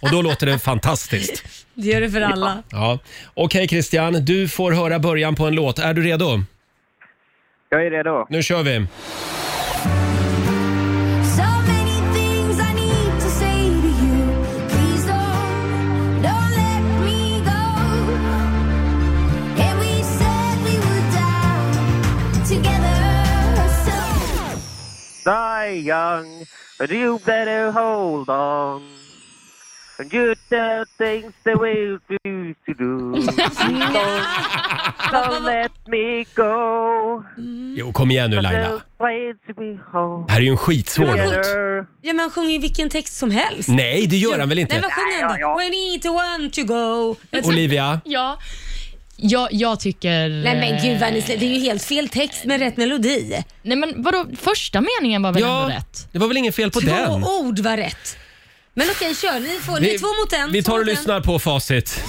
Och då låter det fantastiskt.
Det gör det för alla.
Ja. Okej Christian, du får höra början på en låt. Är du redo?
Jag är redo.
Nu kör vi.
Die young, but you better hold on. And you do things the way you used to do. don't, don't let me go.
Jo, kom igen nu
Mm.
Laila.
Place to be home.
Det här är ju en skitsvår låt.
Together.
Ja, men han sjunger ju vilken text som helst.
Nej, det gör han väl
Nej,
Mm. inte?
vad sjunger han då? We need to want to go.
Olivia,
Ja. ja, jag tycker... eh,
Nej men gud vad ni slä- det är ju helt fel text med rätt melodi.
Nej, men vadå? Första meningen var väl
ja,
ändå rätt?
det var väl inget fel på
Två
den?
ord var rätt. Men okej, kör. Ni, får, ni är två mot en.
vi
två
tar och
mot en.
lyssnar på facit.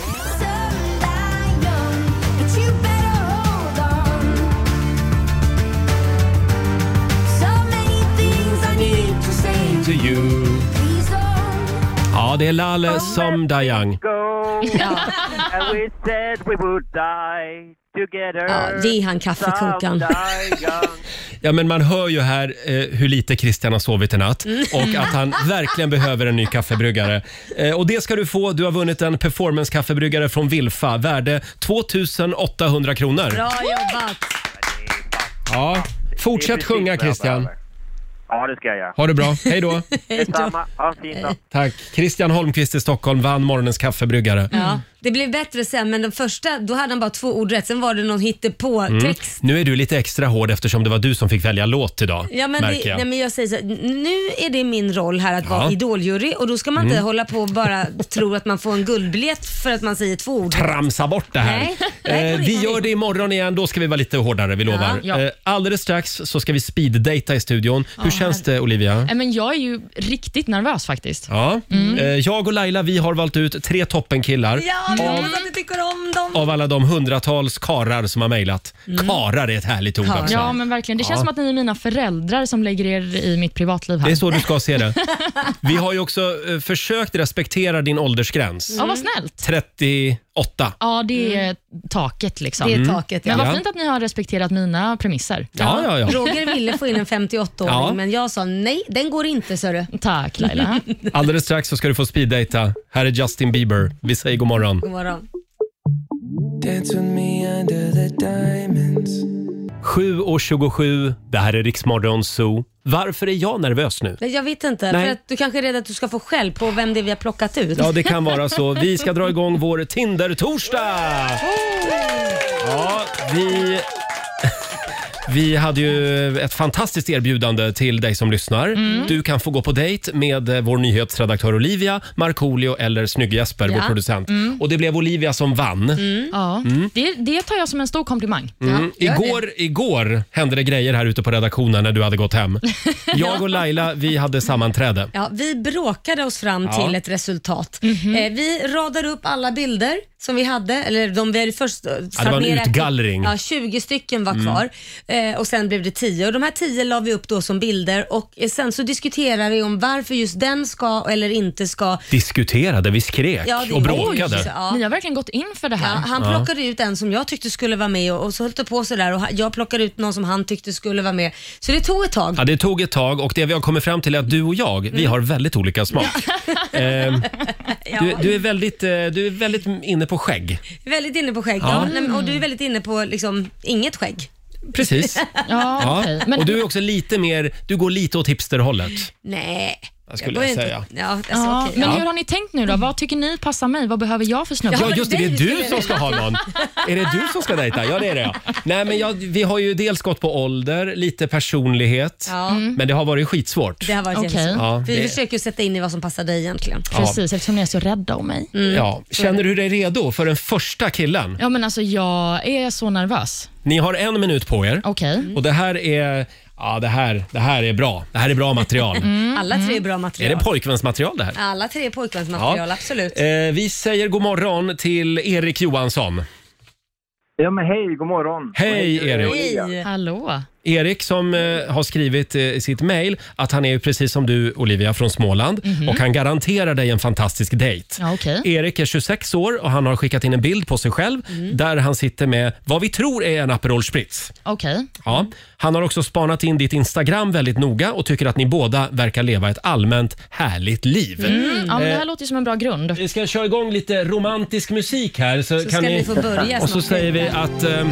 Ja, det är Lale som Dayang.
Go. And we said we would die together.
Ja, ge
Some
han kaffekokan.
die young.
Ja, men man hör ju här eh, hur lite Christian har sovit i natt
Mm.
och att han verkligen behöver en ny kaffebryggare. Eh, och det ska du få. Du har vunnit en performance-kaffebryggare från Wilfa, värde 2800 kronor.
Bra jobbat.
Ja.
Det är
Fortsätt
precis vad
sjunga
jag
Christian.
behöver. Ja, det ska jag göra.
Ha det bra. Hej då.
Detsamma. Ha en fin dag.
Tack. Christian Holmqvist i Stockholm vann morgonens kaffebryggare.
Ja, det blev bättre sen, men den första, då hade han bara två ord rätt. Sen var det någon hittepå-text.
Nu är du lite extra hård eftersom det var du som fick välja låt idag.
Ja, men det,
märker jag.
nej, men jag säger så, här, nu är det min roll här att
Ja. Mm.
vara idoljury och då ska man inte hålla på och bara tro att man får en guldbiljett för att man säger två ord.
Tramsa bort det här.
Nej, nej,
eh,
på
vi
riktigt.
gör det imorgon igen. Då ska vi vara lite hårdare, vi lovar.
ja.
Eh, alldeles strax så ska vi speeddata i studion. Hur känns det Olivia?
Nej, Men jag är ju riktigt nervös faktiskt.
Ja.
Mm.
Eh, jag och Laila vi har valt ut tre toppenkillar
Ja, jag hoppas att ni tycker om dem.
av alla de hundratals karar som har mejlat. Karar är ett härligt ord
Karar.
också.
Mm. Ja, men verkligen. Det känns som att ni är mina föräldrar som lägger er i mitt privatliv här.
Det är så du ska se det. Vi har ju också eh, försökt respektera din åldersgräns.
Ja, vad snällt.
38.
Ja, det är taket liksom.
Det är taket.
Men
Ja.
Mm. Ja.
vad fint att ni har respekterat mina premisser.
Ja, ja, ja.
Roger ville få in en 58-åring
Ja.
men jag sa nej, den går inte så du.
Tack Laila.
Alldeles strax så ska du få speeddata. Här är Justin Bieber. Vi säger god morgon.
God morgon.
7.27, det här är Riksmorgon Zoo. Varför är jag nervös nu?
Men jag vet inte,
Nej.
för att du kanske är rädd att du ska få skäll på vem det är vi har plockat ut.
Ja, det kan vara så. Vi ska dra igång vår Tinder-torsdag! Ja, vi... Vi hade ju ett fantastiskt erbjudande till dig som lyssnar. Du kan få gå på dejt med eh, vår nyhetsredaktör Olivia, Markoolio eller Snygg-Jesper, vår
Ja.
producent. Och det blev Olivia som vann.
Ja. Det, det tar jag som en stor komplimang.
Mm. Igår, igår hände det grejer här ute på redaktionen när du hade gått hem. Jag och Laila, vi hade sammanträde.
Ja, vi bråkade oss fram
Ja.
till ett resultat. eh, vi radade upp alla bilder som vi hade. Eller de vi hade först eh, satt
var en
ner ett-
utgallring. Mm.
Ja, 20 stycken var kvar eh, och sen blev det 10. Och de här 10 la vi upp då som bilder och eh, sen så diskuterade vi om varför just den ska eller inte ska.
Diskuterade, vi skrek
Ja, det-
och
Oj, så-
bråkade.
ja.
Ni har verkligen gått in för det
Ja,
här.
han plockade ut en som jag tyckte skulle vara med och, och så höll det på sådär och ha- jag plockade ut någon som han tyckte skulle vara med. Så det tog ett tag.
Ja, det tog ett tag och det vi har kommit fram till är att du och jag,
Mm.
vi har väldigt olika smak. Ehm, du, du, är väldigt, eh, du är väldigt inne på skägg.
Väldigt inne på skägg. Ja. nej, men- och du är väldigt inne på liksom, inget skägg.
Precis.
Ja,
Ja.
okej. Men,
Och du är också lite mer, du går lite åt hipsterhållet.
Nej.
Vad skulle
går
jag
inte-
säga?
Ja, alltså,
ja,
okej,
men
ja.
hur har ni tänkt nu då? Vad tycker ni passar mig? Vad behöver jag för snubbe?
Ja,
men
just det. Det är
dig
du
skulle jag
som ska ha någon. Är det du som ska dejta? Ja, det är det. Ja. Nej, men jag, vi har ju dels gått på ålder, lite personlighet.
Ja.
Men det har varit skitsvårt.
Det har varit
Okej.
jättesvårt.
Ja,
Vi
det-
försöker ju sätta in i vad som passar dig egentligen.
Precis, eftersom ni är så rädda om mig.
Mm.
Ja. Känner du dig redo för den första killen?
Ja, men alltså jag är så nervös.
Ni har en minut på er.
Okej.
Och det här är... Ja, det här, det här är bra. Det här är bra material.
Mm.
Alla tre är bra
Är det
material.
pojkvänsmaterial det här?
Alla tre är pojkvänsmaterial, absolut.
Eh, vi säger god morgon till Erik Johansson.
Ja, men hej, god morgon.
Hej Erik!
Hej!
Hallå.
Erik som eh, har skrivit eh, i sitt mejl att han är ju precis som du Olivia från Småland och han garanterar dig en fantastisk dejt.
Mhm. Ja, okej.
Erik är 26 år och han har skickat in en bild på sig själv
Mm.
där han sitter med vad vi tror är en Aperol Spritz.
Okej.
Ja. Han har också spanat in ditt Instagram väldigt noga och tycker att ni båda verkar leva ett allmänt härligt liv.
Mm.
Ja, men det här låter ju som en bra grund.
Vi ska köra igång lite romantisk musik här. Så,
Så
kan
ska ni få börja
Och så
snart.
säger vi att... ehm,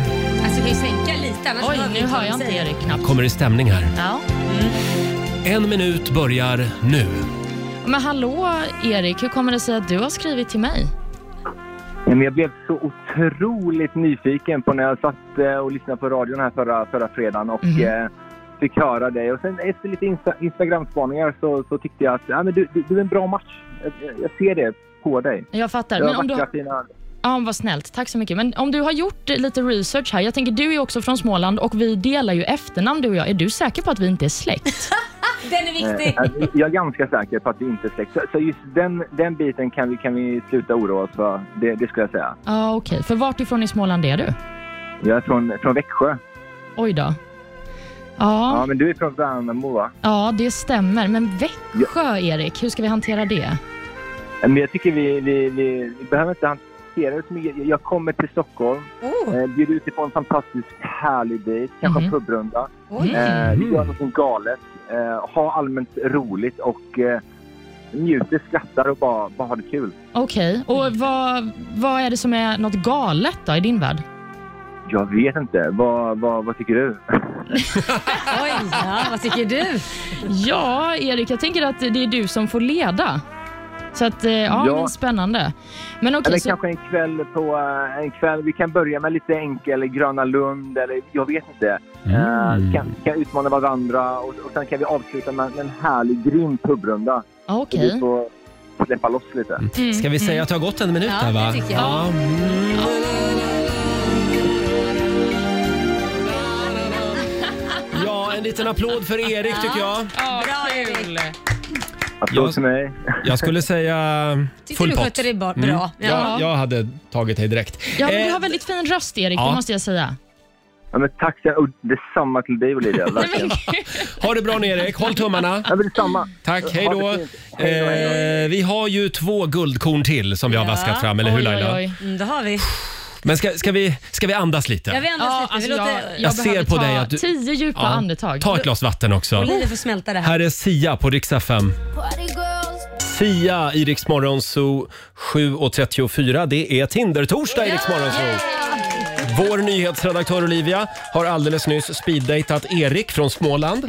Alltså vi kan ju sänka lite annars
Oj,
hör vi
nu
vad
hör
de
jag inte
säger.
Erik knappt.
kommer i stämning här.
Ja.
En minut börjar nu.
Men hallå Erik, hur kommer det sig att du har skrivit till mig?
Ja, men jag blev så otroligt nyfiken på när jag satt eh, och lyssnade på radion här förra, förra fredagen och
Mhm.
eh, fick höra dig. Och sen efter lite insta- Instagram-spaningar så, så tyckte jag att ja, men du, du, du är en bra match. Jag, jag- jag ser det på dig.
Jag fattar.
Du
Men
har
om du
vackra,
har...
fina...
Ja, vad snällt. Tack så mycket. Men om du har gjort eh, lite research här. Jag tänker, du är också från Småland och vi delar ju efternamn du och jag. Är du säker på att vi inte är släkt?
Den är viktig.
eh, Jag är ganska säker på att vi inte är släkt. Så, så just den, den biten kan vi, kan vi sluta oroa oss för. Det, det skulle jag säga.
Ja, okej. För vart ifrån i Småland är du?
Jag är från, från Växjö.
Oj då.
Ja,
Ja,
men du är från Värnamo va?
ja, det stämmer. Men Växjö, Erik, hur ska vi hantera det?
Men jag tycker vi, vi, vi, vi behöver inte hantera det så mycket. Jag kommer till Stockholm.
Oh,
Eh, bjuder ut dig på en fantastiskt härlig dejt, kanske en pubrunda.
Mm.
oj.
Eh, vi gör någonting galet. Eh, ha allmänt roligt och eh, njuter, skrattar och bara, bara ha det kul.
Okej, och vad, vad är det som är något galet då i din värld?
Jag vet inte. Vad, vad, vad tycker du?
Oj, ja, vad tycker du?
Ja, Erik, jag tänker att det är du som får leda. Så att, eh, ja,
Ja.
Men spännande. Men okej,
Eller
så,
kanske en kväll på eh, en kväll. Vi kan börja med lite enkel Gröna Lund eller jag vet inte. Mm. kan, kan utmana varandra och, och sen kan vi avsluta med en härlig grym pubrunda.
ja,
Så
okej.
vi får släppa loss lite.
Ska vi säga att det har gått en minut
Mm. Ja,
här va?
det tycker jag.
Ja. Mm. Ja, en liten applåd för Erik tycker jag.
Ja,
Bra, Erik.
kul.
Applåd
Jag-
till mig.
Jag skulle säga
Tycker
full
du
pott.
skötte dig ba- bra?
Mm.
Ja.
Jag, jag hade tagit dig direkt.
Ja, men du
Eh,
har väldigt fin röst, Erik,
ja.
det måste jag säga.
Ja, men tack så och detsamma till dig Olivia. Verkligen.
Ha det bra nu Erik, håll tummarna.
Ja, men detsamma.
Tack, hej
Ha
då.
det fint. Hej då, hej då.
Eh, vi har ju två guldkorn till som vi har
Ja.
vaskat fram, eller hur Laila?
Mm, det har vi.
Men ska, ska, vi, ska vi andas lite?
Jag andas
Ja,
lite.
alltså,
vi
jag,
låter
Jag
jag
ser
behöver
på
ta
dig att du-
tio djupa
Ja.
andetag.
Ta ett glas vatten också.
Oliver få smälta det här.
Här är Sia på Rix FM. Sia i Rix Morgon Zoo 7.34. Det är Tinder-torsdag i Rix Morgon Zoo. Vår nyhetsredaktör Olivia har alldeles nyss speeddejtat Erik från Småland.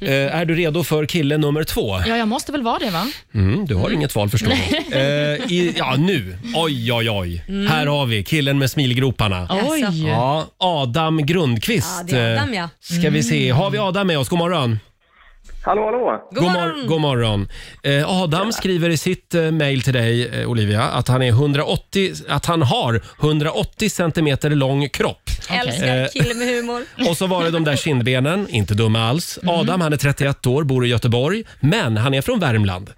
Eh, är du redo för kille nummer två?
Ja, jag måste väl vara det, va?
Mm, du har inget val förstår jag. Eh, i, ja, nu. Oj, oj, oj. Här har vi killen med smilgroparna.
Jaså.
Oj!
Ja, Adam Grundqvist.
Ja, det är Adam, ja. Mm.
Eh, Ska vi se. Har vi Adam med oss? God morgon.
Hallå, hallå!
God morgon.
mor- god morgon. Eh, Adam skriver i sitt eh, mejl till dig, eh, Olivia, att han, är 180, att han har 180 centimeter lång kropp.
Eh,
Älskar kille med humor.
Och så var det de där kindbenen, inte dumma alls.
Mm.
Adam han är 31 år, bor i Göteborg, men han är från Värmland.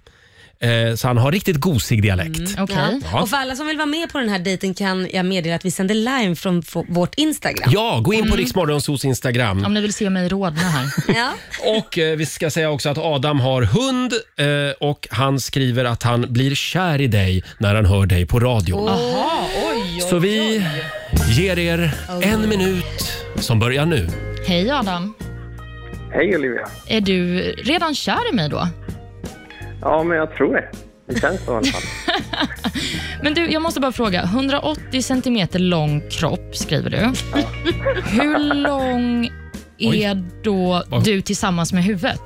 Eh, så han har riktigt gosig dialekt.
Okej.
Ja.
Ja. Mm. Och för alla som vill vara med på den här dejten kan jag meddela att vi sänder live från f- vårt Instagram.
Ja, gå in på mm. Riksmorgonsos Instagram.
Om ni vill se mig rodna här.
Ja.
Och eh, vi ska säga också att Adam har hund eh, och han skriver att han blir kär i dig när han hör dig på radio.
Jaha, oj.
Så vi ger er en minut som börjar nu.
Hej Adam.
Hej Olivia!
Är du redan kär i mig då?
Ja, men jag tror det. Det känns så i alla fall.
Men du, jag måste bara fråga. 180 centimeter lång kropp skriver du. Hur lång är då du tillsammans med huvudet?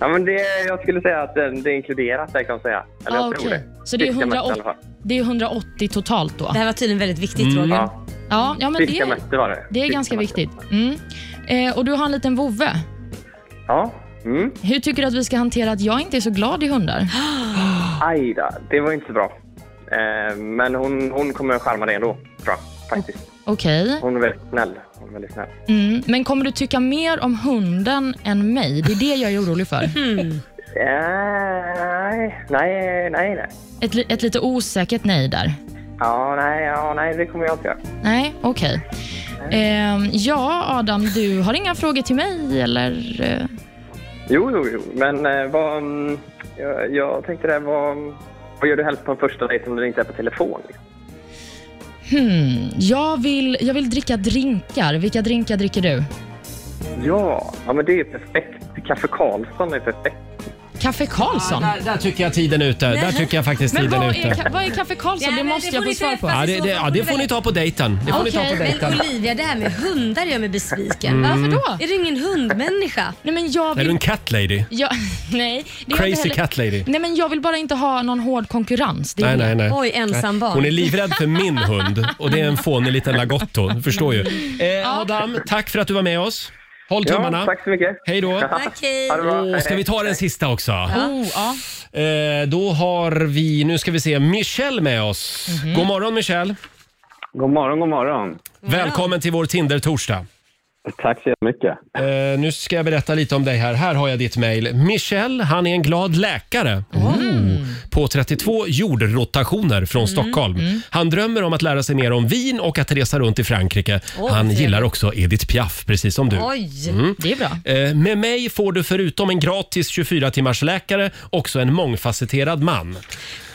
Ja, men det, jag skulle säga att det, det är inkluderat, det kan jag säga. Eller jag
Ah,
tror
okej.
det.
Så det är,
Fiskamätt i
180,
alla fall.
det är 180 totalt då?
Det här var tydligen väldigt viktigt
Mm.
Roger.
Ja,
Ja, ja men det,
fiskamätte var det.
det är ganska viktigt. Mm. Eh, och du har en liten vovve.
Ja. Mm.
Hur tycker du att vi ska hantera att jag inte är så glad i hundar?
Aj då, det var inte så bra. Eh, men hon, hon kommer att charma dig ändå, tror jag. Faktiskt.
Okej.
Hon är väldigt snäll. Hon är väldigt snäll.
Mm. Men kommer du tycka mer om hunden än mig? Det är det jag är orolig för.
Eh, nej, nej, nej.
Ett, li- ett lite osäkert nej där.
Ja, nej, ja, nej, det kommer jag inte göra.
Nej, okej. Ehm, ja, Adam, du har inga frågor till mig eller? eh,
Jo, jo, jo. Men eh, vad... mm, Jag, jag tänkte det, vad... Vad gör du helst på en första dejt om du inte är på telefon? Liksom?
Hmm, jag vill, jag vill dricka drinkar. Vilka drinkar dricker du?
Ja, ja, men det är perfekt. Kaffe Karlsson är perfekt.
Kaffe Karlsson?
Där, där tycker jag tiden är ute. Där tycker jag faktiskt
Men
tiden
vad
är
är,
ute.
ka- vad är Kaffe
Ja,
Karlsson? Det
men
måste
det
jag
får
få
ni
svar på.
träffas.
Ja, det, det, ja, det får ni ta på dejten. Det får ni ta på
Okej,
dejten. Mm.
Men Olivia, det här med hundar gör mig besviken.
Varför då?
Är du ingen hundmänniska?
Nej, men jag
Är du
vill...
en cat lady?
Jag, nej, det är jag inte
Crazy
heller.
cat lady?
Nej, men jag vill bara inte ha någon hård konkurrens. Det är
Nej, nej,
det.
nej.
Oj, ensam barn.
Hon är livrädd för min hund och det är en fånig liten lagotto. Du förstår ju. Eh, Adam, tack för att du var med oss. Håll tummarna.
Ja, tack så mycket.
Hej då.
Tack, hej.
Ha det bra.
Och
Hej,
ska vi ta den sista också?
Oh, ja.
Eh, då har vi, nu ska vi se, Michelle med oss. God morgon Michelle.
God morgon, god morgon.
Välkommen till vår Tinder-torsdag.
Tack så jättemycket.
Eh, nu ska jag berätta lite om dig här. Här har jag ditt mejl. Michelle, han är en glad läkare. Oh. På 32 jordrotationer från Stockholm. Han drömmer om att lära sig mer om vin och att resa runt i Frankrike. han
trevligt.
gillar också Edith Piaf, precis som du.
Oj.
Det är bra.
Eh, Med mig får du förutom en gratis 24 timmars läkare också en mångfacetterad man.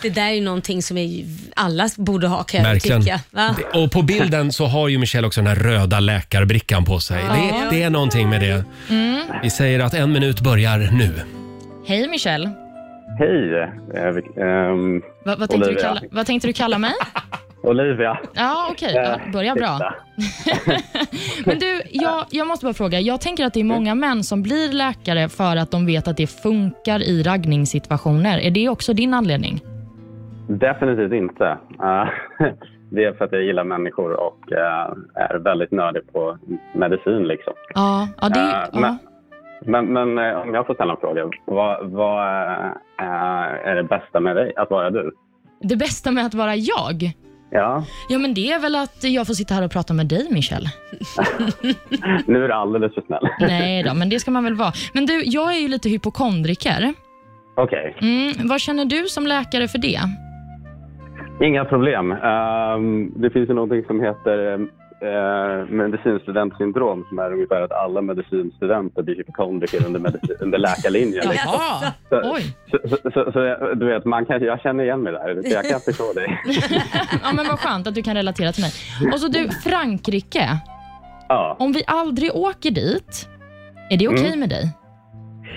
Det där är ju någonting som är, alla borde ha kan jag
Verkligen.
tycka. Va?
Det- Och på bilden så har ju Michelle också den här röda läkarbrickan på sig. Det, är- det är någonting med det. Vi säger att en minut börjar nu.
Hej, Michelle.
Hej. Eh, vi- ehm,
Va, vad, tänkte du
Olivia.
kalla, vad tänkte du kalla mig?
Olivia.
Ja, okej. Ja, börja bra. Men du, jag, jag måste bara fråga. Jag tänker att det är många män som blir läkare för att de vet att det funkar i raggningssituationer. Är det också din anledning?
Definitivt inte. Eh, Det är för att jag gillar människor och eh, är väldigt nördig på medicin. Liksom.
Ja, ja, det,
Eh,
ja.
men- Men, men eh, om jag får ställa en fråga. Vad, vad eh, eh, är det bästa med dig, att vara du?
det bästa med att vara jag?
Ja,
Ja, men det är väl att jag får sitta här och prata med dig, Michel.
nu är du alldeles för snäll.
Nej då, men det ska man väl vara. Men du, jag är ju lite hypokondriker.
Okej,
Mm, vad känner du som läkare för det?
inga problem. Ehm, det finns ju någonting som heter eh, medicinstudentsyndrom som är ungefär att alla medicinstudenter blir hypokondriker under, medicin, under läkarlinjen. liksom.
Jaha,
Så-
oj.
Så, så, så, så jag- du vet, man kan, jag känner igen mig där. Så jag kan förstå dig.
Ja, men vad skönt att du kan relatera till mig. Och så du, Frankrike.
Ja,
Om vi aldrig åker dit, är det okej med dig?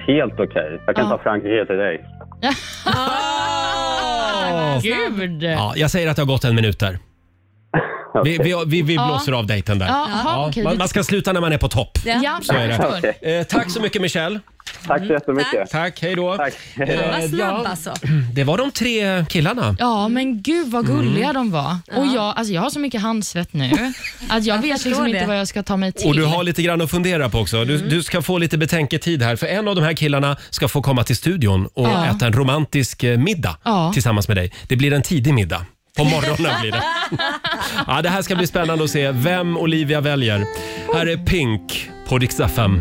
helt okej. Jag kan
Ja.
ta Frankrike till dig.
Gud!
Ja, jag säger att det har gått en minut där. Vi,
Okej.
vi, vi, vi
Ja.
blåser av dejten där.
Ja, aha,
Ja,
okej.
man, man ska sluta när man är på topp.
Ja,
Så är
jag
det.
förstår.
Eh, tack så mycket Michelle.
Tack så jättemycket.
Tack, hej då.
Tack. Hej då.
Vad snabb
ja,
alltså.
det var de tre killarna.
Ja, men gud
Mm.
vad gulliga de var. Och jag, alltså jag har så mycket handsvett nu att jag, vet
förstår
liksom inte
det.
vad jag ska ta mig till.
Och du har lite grann att fundera på också. Du, du ska få lite betänketid här för en av de här killarna ska få komma till studion och
Ja.
äta en romantisk eh, middag
Ja.
tillsammans med dig. Det blir en tidig middag. På morgonen blir det. Ja, det här ska bli spännande att se vem Olivia väljer. Här är Pink på riksdag 5.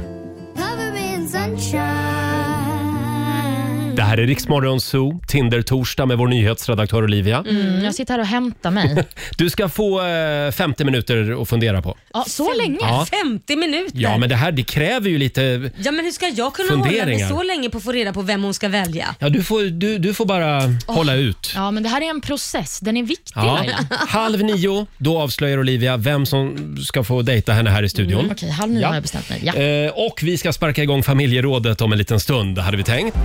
Det här är Riksmorgon Zoo, Tinder-torsdag med vår nyhetsredaktör Olivia.
Mm, jag sitter här och hämtar mig.
Du ska få eh, 50 minuter att fundera på.
Ja, så länge?
Ja.
50 minuter.
Ja, men det här det kräver ju lite...
Ja, men hur ska jag kunna hålla mig
Funderingar. Mm.
så länge på att få reda på vem hon ska välja?
Ja, du, får, du, du får bara hålla ut.
Ja, men det här är en process. Den är viktig,
Ja.
Laila.
Halv nio, då avslöjar Olivia vem som ska få dejta henne här i studion.
Mm, Okej, halv nio
Ja.
har jag bestämt mig. Ja.
Eh, och vi ska sparka igång familjerådet om en liten stund, hade vi tänkt.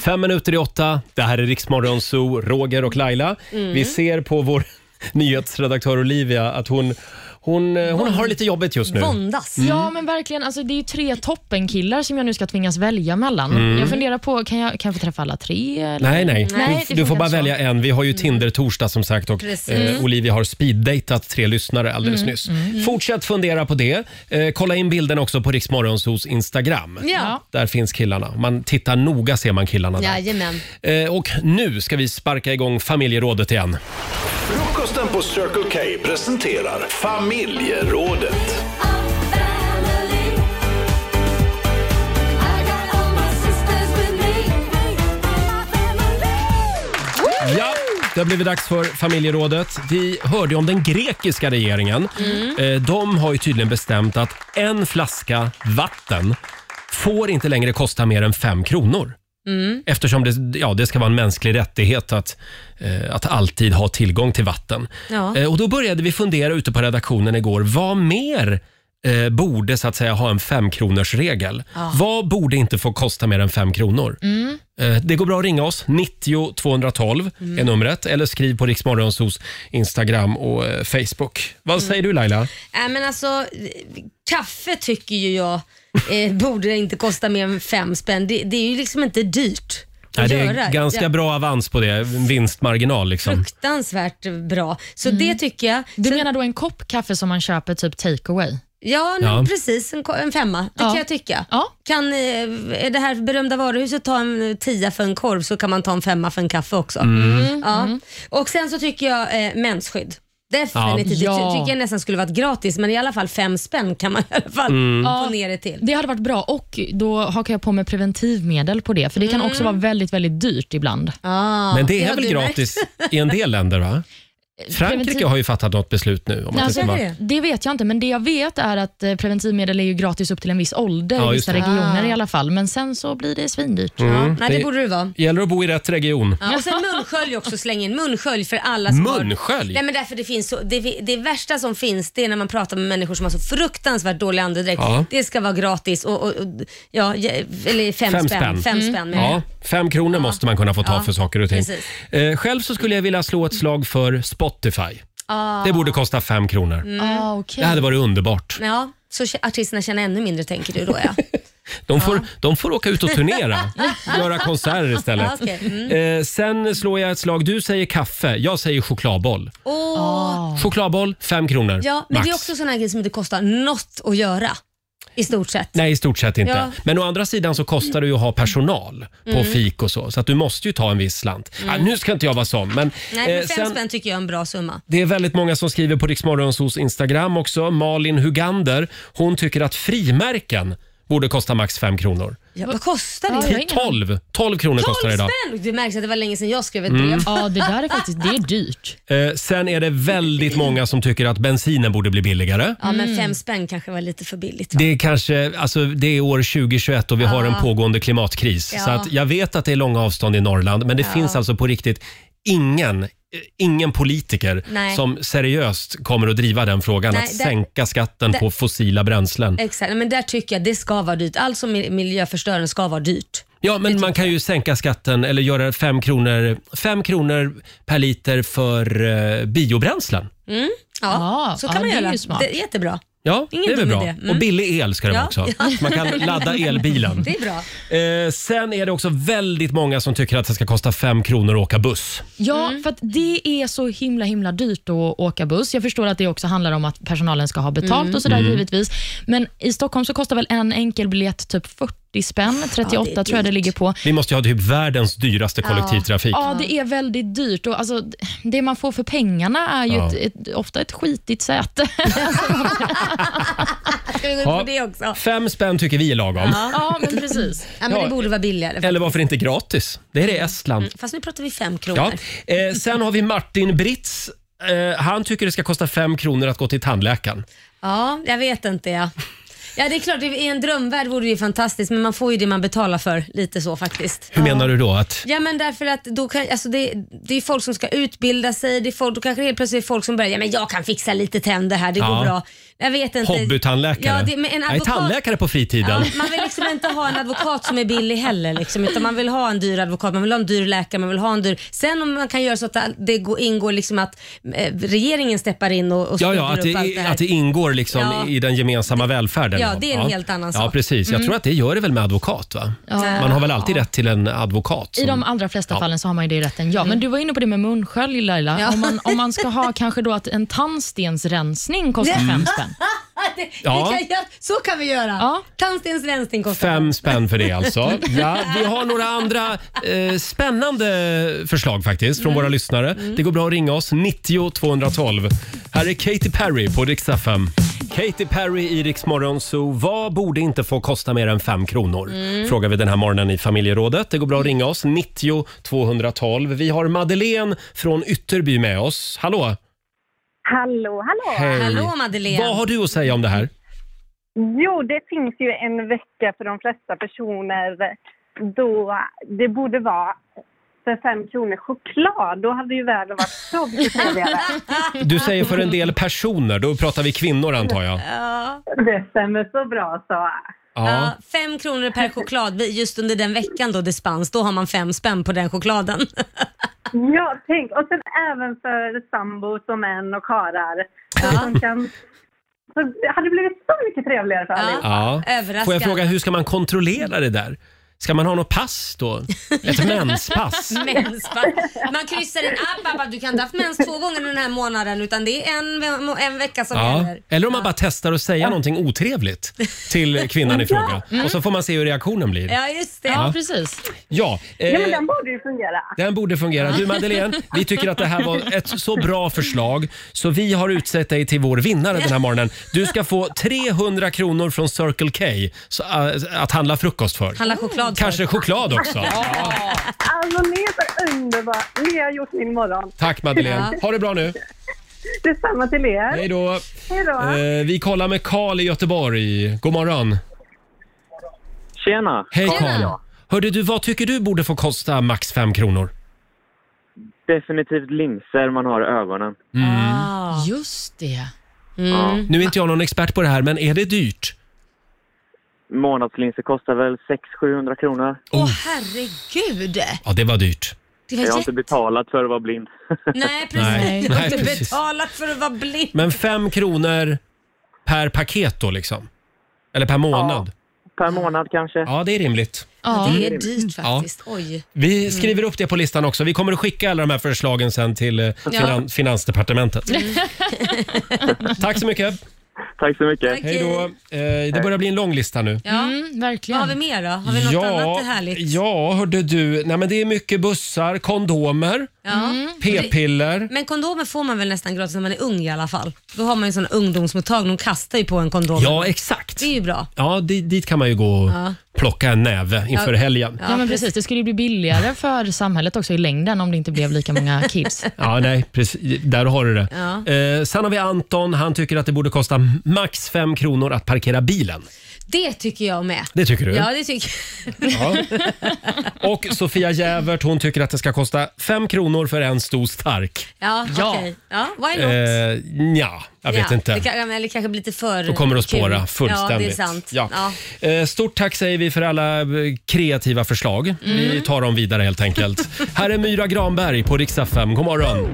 Fem minuter i åtta, det här är Riksmorgon Zoo, Roger och Laila.
Mm.
Vi ser på vår nyhetsredaktör Olivia att hon, hon, eh, hon har lite jobbigt just nu.
Våndas.
Mm.
Ja, men verkligen. Alltså, det är ju tre toppenkillar som jag nu ska tvingas välja mellan. Jag funderar på, kan jag, kan jag få träffa alla tre? Eller?
Mm. Nej, nej.
Nej,
du,
det
du får
funkar
bara
så.
välja en. Vi har ju Tinder-torsdag som sagt och
Precis.
eh, Olivia har speeddejtat tre lyssnare alldeles nyss. Fortsätt fundera på det. Eh, kolla in bilden också på Riksmorgonsos Instagram.
Ja.
Där finns killarna. Om Man tittar noga ser man killarna där.
Jajamän.
Eh, och nu ska vi sparka igång familjerådet igen.
Frukosten på Circle K presenterar familjerådet.
Ja, det har blivit dags för familjerådet. Vi hörde ju om den grekiska regeringen. Eh, De har ju tydligen bestämt att en flaska vatten får inte längre kosta mer än fem kronor. Eftersom det, ja, det ska vara en mänsklig rättighet att, eh, att alltid ha tillgång till vatten.
Ja.
Eh, och Då började vi fundera ute på redaktionen igår. Vad mer eh, borde så att säga ha en femkronorsregel? Vad borde inte få kosta mer än fem kronor? Eh, Det går bra att ringa oss. 90 212 är numret. Eller skriv på Riksmorgonsos Instagram och eh, Facebook. Vad säger du Laila?
Nej, men alltså, kaffe tycker ju jag eh, borde inte kosta mer än fem spänn. Det, det är ju liksom inte dyrt att
Nej, det
göra.
är ganska
Ja,
bra avans på det. Vinstmarginal liksom.
Fruktansvärt bra. Så
Mm.
det tycker jag.
Du
Sen-
menar då en kopp kaffe som man köper typ takeaway?
Ja, nej,
Ja.
precis. En, ko- en femma. Det
Ja.
kan jag tycka.
Ja.
Kan eh, det här berömda varuhuset ta en tia för en korv så kan man ta en femma för en kaffe också.
Mm.
Mm.
Ja. Och sen så tycker jag eh, mensskydd. Definitivt.
Ja.
Det
Ja.
ty- tycker jag nästan skulle varit gratis men i alla fall fem spänn kan man i alla fall
Mm.
få ner det till.
Det hade varit bra och då hakar jag på med preventivmedel på det, för det kan också vara väldigt, väldigt dyrt ibland.
Ah,
Men det är
har
väl
du märkt.
gratis i en del länder va? Frankrike
preventiv-
har ju fattat något beslut nu. Om att det
Alltså,
ska vara...
det?
det vet jag inte, men det jag vet är att eh, preventivmedel är ju gratis upp till en viss ålder
Ja,
i
just
vissa
det.
regioner i alla fall. Men sen så blir det svindyrt.
Mm,
Nej, det borde det vara.
gäller att bo i rätt region.
Ja, och sen munskölj också, släng in munskölj för alla som har...
Munskölj?
Nej men därför det finns så, det, det värsta som finns det är när man pratar med människor som har så fruktansvärt dålig andedräkt.
Ja.
Det ska vara gratis och, och, och ja, ja, eller fem,
Fem
fem
spänn. Mm.
spänn. Fem spänn menar
Ja,
jag.
fem kronor måste man kunna få ta
Ja,
för saker och ting.
precis.
Eh, själv så skulle jag vilja slå ett slag för Spotify. Det borde kosta fem kronor.
Ah, okej.
Det hade varit underbart.
ja. Så kä- artisterna tjänar ännu mindre tänker du då ja.
De får, de får åka ut och turnera, göra konserter
ja
istället.
okej. mm.
Eh, sen slår jag ett slag. Du säger kaffe, jag säger chokladboll.
och,
Chokladboll, fem kronor.
ja, men
max.
det är också sådana grejer som inte kostar något att göra. I stort sett.
Nej, i stort sett inte.
Ja. Mm.
Men å andra sidan så kostar det ju att ha personal på fik och så, så att du måste ju ta en viss slant. Ja, nu ska inte jag vara sån, men...
Nej, men
eh,
fem spänn tycker jag är en bra summa.
Det är väldigt många som skriver på Riksmorgonsos Instagram också. Malin Hugander, hon tycker att frimärken borde kosta max 5 kronor.
Ja, vad kostar
Ja,
det?
jag har ingen-
12, 12 kronor kostar det Mm. idag.
spänn! Det märks att det var länge sedan jag skrev ett brev.
Ja, det där är faktiskt det är dyrt.
Eh, sen är det väldigt många som tycker att bensinen borde bli billigare.
Ja, men fem spänn kanske var lite för billigt. Va?
Det är kanske, alltså det är år 2021 och vi har en pågående klimatkris. Så
Ah. Ja.
att jag vet att det är långa avstånd i Norrland, men det finns alltså på riktigt ingen eh, Ingen politiker
Nej.
som seriöst kommer att driva den frågan,
Nej, Eh,
att
där-
sänka skatten på fossila bränslen.
Exakt, men där tycker jag det ska vara dyrt. Allt som är miljöförstörande ska vara dyrt.
Ja, men man kan ju sänka skatten eller göra 5 kronor, fem kronor per liter för eh, biobränslen.
Ja,
Ja,
så kan
ja,
man
det är
göra.
ju smart.
Det är jättebra.
Ja,
Ingen
det är väl
dum
bra.
idé. Mm.
Och billig el ska det vara
Ja.
också. Så Man kan ladda elbilen.
Det är bra.
Eh, sen är det också väldigt många som tycker att det ska kosta 5 kronor att åka buss.
Ja, för att det är så himla himla dyrt att åka buss. Jag förstår att det också handlar om att personalen ska ha betalt och sådär givetvis. Men i Stockholm så kostar väl en enkel biljett typ 40 spänn, 38 tror jag det
dyrt.
ligger på.
Vi måste ju ha typ världens dyraste kollektivtrafik.
Ja, det är väldigt dyrt. Och alltså, det man får för pengarna är ju
Ja.
ett, ett, ofta ett skitigt säte.
Ska vi gå in på
Ja.
det också?
Fem spänn tycker vi är lagom.
ja, men precis.
Ja, men
Ja.
det borde vara billigare.
Eller varför inte gratis? Det är det i Estland.
Fast nu pratar vi fem
Ja.
kronor.
Eh, sen har vi Martin Brits. Eh, han tycker det ska kosta 5 kronor att gå till tandläkaren.
Ja, jag vet inte ja. Ja, det är klart, i en drömvärld vore det ju fantastiskt, men man får ju det man betalar för. Lite så faktiskt.
Hur menar du då? Att
Ja men därför att då kan, alltså det, det är folk som ska utbilda sig, det är folk, då kanske det helt plötsligt är folk som börjar, ja men jag kan fixa lite tänder här, det
Ja.
går bra. Jag vet inte.
Hobbytandläkare?
Ja, det, men en
Nej,
advokat,
tandläkare på
ja,
fritiden.
man vill liksom inte ha en advokat som är billig heller liksom, utan man vill ha en dyr advokat, man vill ha en dyr läkare, man vill ha en dyr... Sen om man kan göra så att det går- ingår liksom att eh, regeringen steppar in och, och
Ja, ja,
styr
att, det,
upp allt det
i-
här.
att det ingår liksom
Ja.
i den gemensamma välfärden.
Ja, det är en helt annan
Ja,
sak. Mm.
precis. Jag tror att det gör det väl med advokat. va? Man har väl alltid rätt till en advokat.
I
som-
de allra flesta fallen så har man ju det i rätten, ja. Men du var inne på det med munskölj Laila. Om, man, om man ska ha kanske då att en tandstensrensning kostar fem spänn.
det, det
Ja.
kan jag, så kan vi göra.
Ja.
Tandstens rensning kostar.
Fem spänn för det alltså. Ja, vi har några andra eh, spännande förslag faktiskt från våra lyssnare. Det går bra att ringa oss, 90 212. Här är Katy Perry på Rix FM. Katy Perry i Rix Morgon Zoo. Vad borde inte få kosta mer än fem kronor? Frågar vi den här morgonen i familjerådet. Det går bra att ringa oss, 90 212. Vi har Madeleine från Ytterby med oss. Hallå!
Hallå, hallå!
Hej.
Hallå Madeleine.
Vad har du att säga om det här?
Jo, det finns ju en vecka för de flesta personer då det borde vara för fem kronor choklad. Då hade ju världen varit så mycket trevligare.
Du säger för en del personer, då pratar vi kvinnor antar jag.
Ja.
Det stämmer så bra så.
Ja. fem kronor per choklad just under den veckan då det spanns. Då har man fem spänn på den chokladen.
Ja, tänk. Och sen även för sambos och män och karar. Som kan, så det hade blivit så mycket trevligare för allihopa.
Ja.
Överraskad.
Får jag fråga, hur ska man kontrollera det där? Ska man ha något pass då? Ett menspass?
Menspack. Man kryssar in. Ah, pappa, du kan inte ha haft mens två gånger den här månaden utan det är en, en vecka som
Ja.
gäller.
Eller om man bara testar att säga någonting otrevligt till kvinnan i fråga. Och så får man se hur reaktionen blir.
Ja, just det.
Ja, precis.
Ja,
Ja, men
eh,
den borde ju fungera.
den borde fungera. Du Madeleine, vi tycker att det här var ett så bra förslag så vi har utsett dig till vår vinnare den här morgonen. Du ska få 300 kronor från Circle K så, eh, att handla frukost för.
Handla choklad för.
Kanske choklad också.
Alltså, ni är så Vad underbart. Ni har gjort min morgon.
Tack Madeleine. Ha det bra nu.
Detsamma till er.
Hej då.
Hej då.
Eh, vi kollar med Karl i Göteborg. God morgon.
Tjena!
Hej
Carl.
Karl. Hörde du, vad tycker du borde få kosta max 5 kronor?
Definitivt linser man har i ögonen.
Ah.
Just det.
Ja.
Nu är inte jag någon expert på det här, men är det dyrt?
Månadslinser kostar väl 600-700 kronor.
Åh herregud!
Ja, det var dyrt.
Det var
Jag har
jätte...
inte betalat för att vara blind.
Nej precis,
Nej.
du har
Nej,
inte
precis.
betalat för att vara blind.
Men 5 kronor per paket då liksom? Eller per månad?
per månad kanske.
Ja, det är rimligt.
Ja.
Mm.
Det är dyrt faktiskt. Oj.
Vi skriver upp det på listan också. Vi kommer att skicka alla de här förslagen sen till eh, finan- Finansdepartementet. Tack så mycket.
Tack så mycket.
Tack.
Hej då. Eh, Det börjar bli en lång lista nu.
Ja.
Mm,
Vad
verkligen.
har vi mer då? Har vi något annat härligt?
ja, hörde du. Nej, men det är mycket bussar, kondomer,
Ja.
Mm. p-piller.
Men kondomer får man väl nästan gratis när man är ung i alla fall? Då har man ju sån ungdomsmottagning, de kastar ju på en kondom.
Ja, exakt.
Det är ju bra.
Ja, di- dit kan man ju gå och
Ja.
plocka en näve inför
Ja.
helgen.
Ja, men precis. Det skulle ju bli billigare för samhället också i längden om det inte blev lika många kids.
Ja, nej, precis. Där har du det.
Ja.
Eh, sen har vi Anton. Han tycker att det borde kosta max 5 kronor att parkera bilen.
Det tycker jag med.
Det tycker du?
Ja, det tycker
Ja. Och Sofia Jävert hon tycker att det ska kosta 5 kronor för en stor stark.
Ja,
Ja.
okej. Ja, why not?
Eh, ja, jag vet
ja,
inte.
Det kan, eller kanske blir lite för
Då kommer det att spåra
kul.
fullständigt.
Ja, det är sant.
Ja.
Ja.
Eh, Stort tack säger vi för alla eh, kreativa förslag.
Mm.
Vi tar dem vidare helt enkelt. Här är Myra Granberg på Rix FM. God morgon!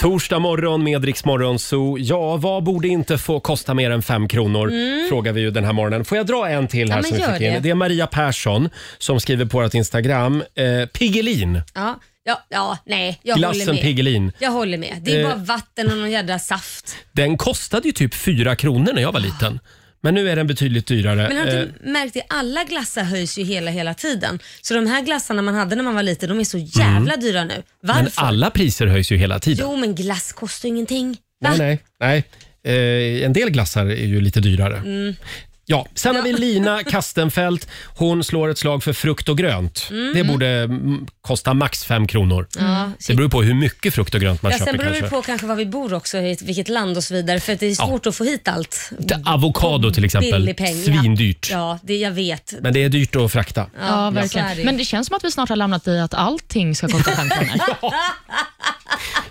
Torsdag morgon med Rix Morgon Zoo. Ja, vad borde inte få kosta mer än 5 kronor? Frågar vi ju den här morgonen. Får jag dra en till här
Mm. Ja, men
som vi
gör
fick in? Det.
det.
är Maria Persson som skriver på vårt Instagram. Eh, Piggelin,
Ja. Ja, ja, nej, jag håller
glassen
med.
Piggelin.
Jag håller med. Det är
Eh.
bara vatten och någon jädra saft.
Den kostade ju typ 4 kronor när jag var liten. Men nu är den betydligt dyrare.
Men har du
Eh,
inte märkt det? Alla glassar höjs ju hela, hela tiden. Så de här glassarna man hade när man var liten, de är så jävla dyra nu. Varför?
Mm. Men alla priser höjs ju hela tiden.
Jo, men glass kostar ju ingenting. Va?
Nej, nej, nej. Eh, en del glassar är ju lite dyrare.
Mm.
Ja, sen har vi Lina Kastenfelt. Hon slår ett slag för frukt och grönt. Det borde mm, kosta max 5 kronor.
Ja,
Mm. Det beror på hur mycket frukt och grönt man
Ja,
köper
sen beror det
kanske.
på kanske var vi bor också, i vilket land och så vidare. För att det är svårt att få hit allt.
Det- Avokado till exempel.
Billig peng, ja.
Svindyrt.
Ja, det jag vet.
Men det är dyrt att frakta.
Ja,
så är det
verkligen.
ju.
Men det känns som att vi snart har lämnat i att allting ska kosta 5 kronor.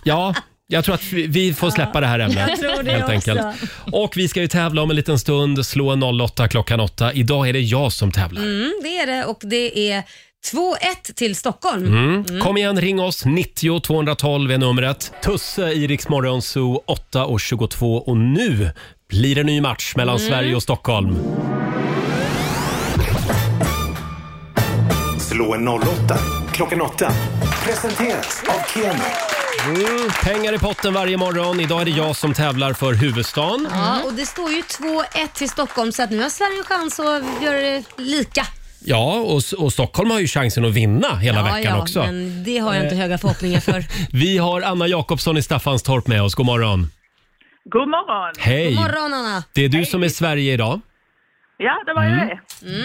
Ja, jag tror att vi- vi får släppa det här ämnet.
Jag tror det
helt
också.
enkelt. Och vi ska ju tävla om en liten stund. Slå en 08 klockan 8. Idag är det jag som tävlar.
Mm, det är det och det är 2-1 till Stockholm.
Mm. Kom igen, ring oss. 90 212 är numret. Tusse i Rix Morgon Zoo 8 och 22 och nu blir det ny match mellan
Mm.
Sverige och Stockholm.
Slå en 08 klockan 8. Presenteras av Keno.
Mm, pengar i potten varje morgon. Idag är det jag som tävlar för huvudstaden.
Ja, och det står ju 2-1 till Stockholm så att nu har Sverige en chans att göra det lika.
Ja, och, och Stockholm har ju chansen att vinna hela veckan
ja,
också. Eh.
men det har jag inte höga förhoppningar för.
Vi har Anna Jakobsson i Staffanstorp med oss. God morgon.
God morgon.
Hej!
God morgon Anna.
Det är du som är Sverige idag. Mm.
Ja, det var ju det.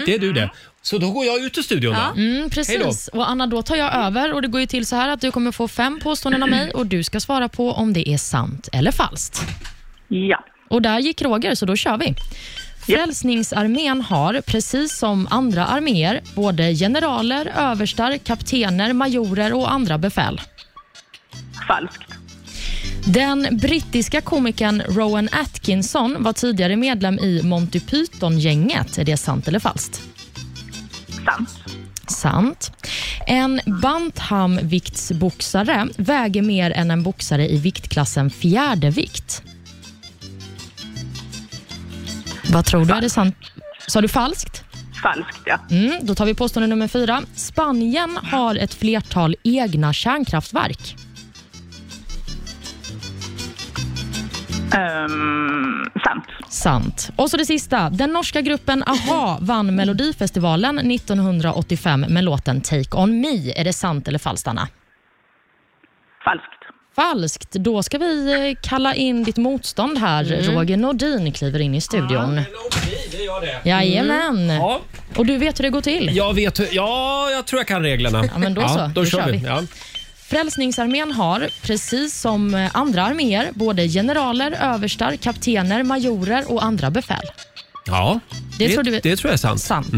Det är du det. Så då går jag ut ur studion då.
Mm, precis. Och Anna, då tar
Mm.
jag över och det går ju till så här att du kommer få fem påståenden av mig och du ska svara på om det är sant eller falskt.
Ja.
Och där gick Roger, så då kör vi. Frälsningsarmén har, precis som andra arméer, både generaler, överstar, kaptener, majorer och andra befäl.
Falskt.
Den brittiska komikern Rowan Atkinson var tidigare medlem i Monty Python-gänget. Är det sant eller falskt?
Sant.
Sant. En bantamviktsboxare väger mer än en boxare i viktklassen fjärde vikt. Vad tror du? Är det sant? Sa du falskt?
Falskt, ja.
Mm, då tar vi påstående nummer fyra. Spanien har ett flertal egna kärnkraftverk.
Ehm, sant.
Sant. Och så det sista. Den norska gruppen AHA vann Melodifestivalen 1985 med låten Take On Me. Är det sant eller falskt, Anna?
Falskt.
Falskt. Då ska vi eh, kalla in ditt motstånd här. Roger Nordin kliver in i studion.
Det gör det.
Jajamän.
Ah. Ja,
Och du vet hur det går till?
jag vet hur, Ja, jag tror jag kan reglerna.
Ja, men då så.
ja, Då
Då
kör
kör
vi.
vi.
Ja.
Frälsningsarmén har, precis som eh, andra arméer, både generaler, överstar, kaptener, majorer och andra befäl.
ja.
Det tror du-
det tror jag är sant.
Sant.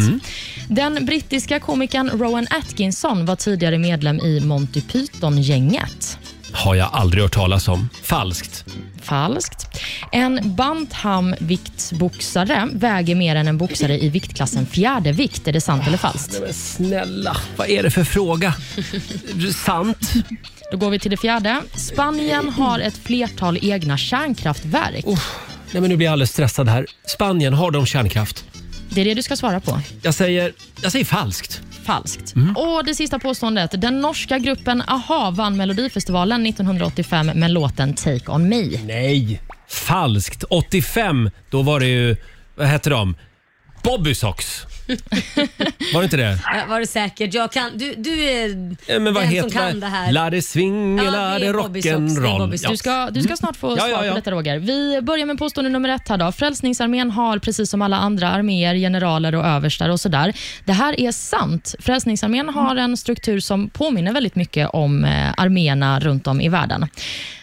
Den brittiska komikern Rowan Atkinson var tidigare medlem i Monty Python-gänget.
Har jag aldrig hört talas om. Falskt.
Falskt. En bantamviktsboxare väger mer än en boxare i viktklassen fjärde vikt. Är det sant eller falskt?
Men snälla, vad är det för fråga? sant.
Då går vi till det fjärde. Spanien har ett flertal egna kärnkraftverk.
Nej, men nu blir jag alldeles stressad här. Spanien, har de kärnkraft?
Det är det du ska svara på.
Jag säger, jag säger falskt.
Falskt. Och det sista påståendet. Den norska gruppen AHA vann Melodifestivalen 1985 med låten Take On Me.
Nej. Falskt. 85, då var det ju, vad hette de? Bobby Socks. Var det inte det?
Eh, Var du säker? Jag kan, du, du är
Eh, Men vad
den
heter
som kan det här.
La det swinga,
Ja, det
la
är
det
Bobby Socks, det är Bobby
rock'n'roll.
Socks.
Ja. Mm.
Du ska, du ska snart få
Ja,
svar
ja, ja.
på detta Roger. Vi börjar med påstående nummer ett här då. Frälsningsarmén har precis som alla andra arméer generaler och överstar och sådär. Det här är sant. Frälsningsarmén
Mm.
har en struktur som påminner väldigt mycket om eh, arméerna runt om i världen.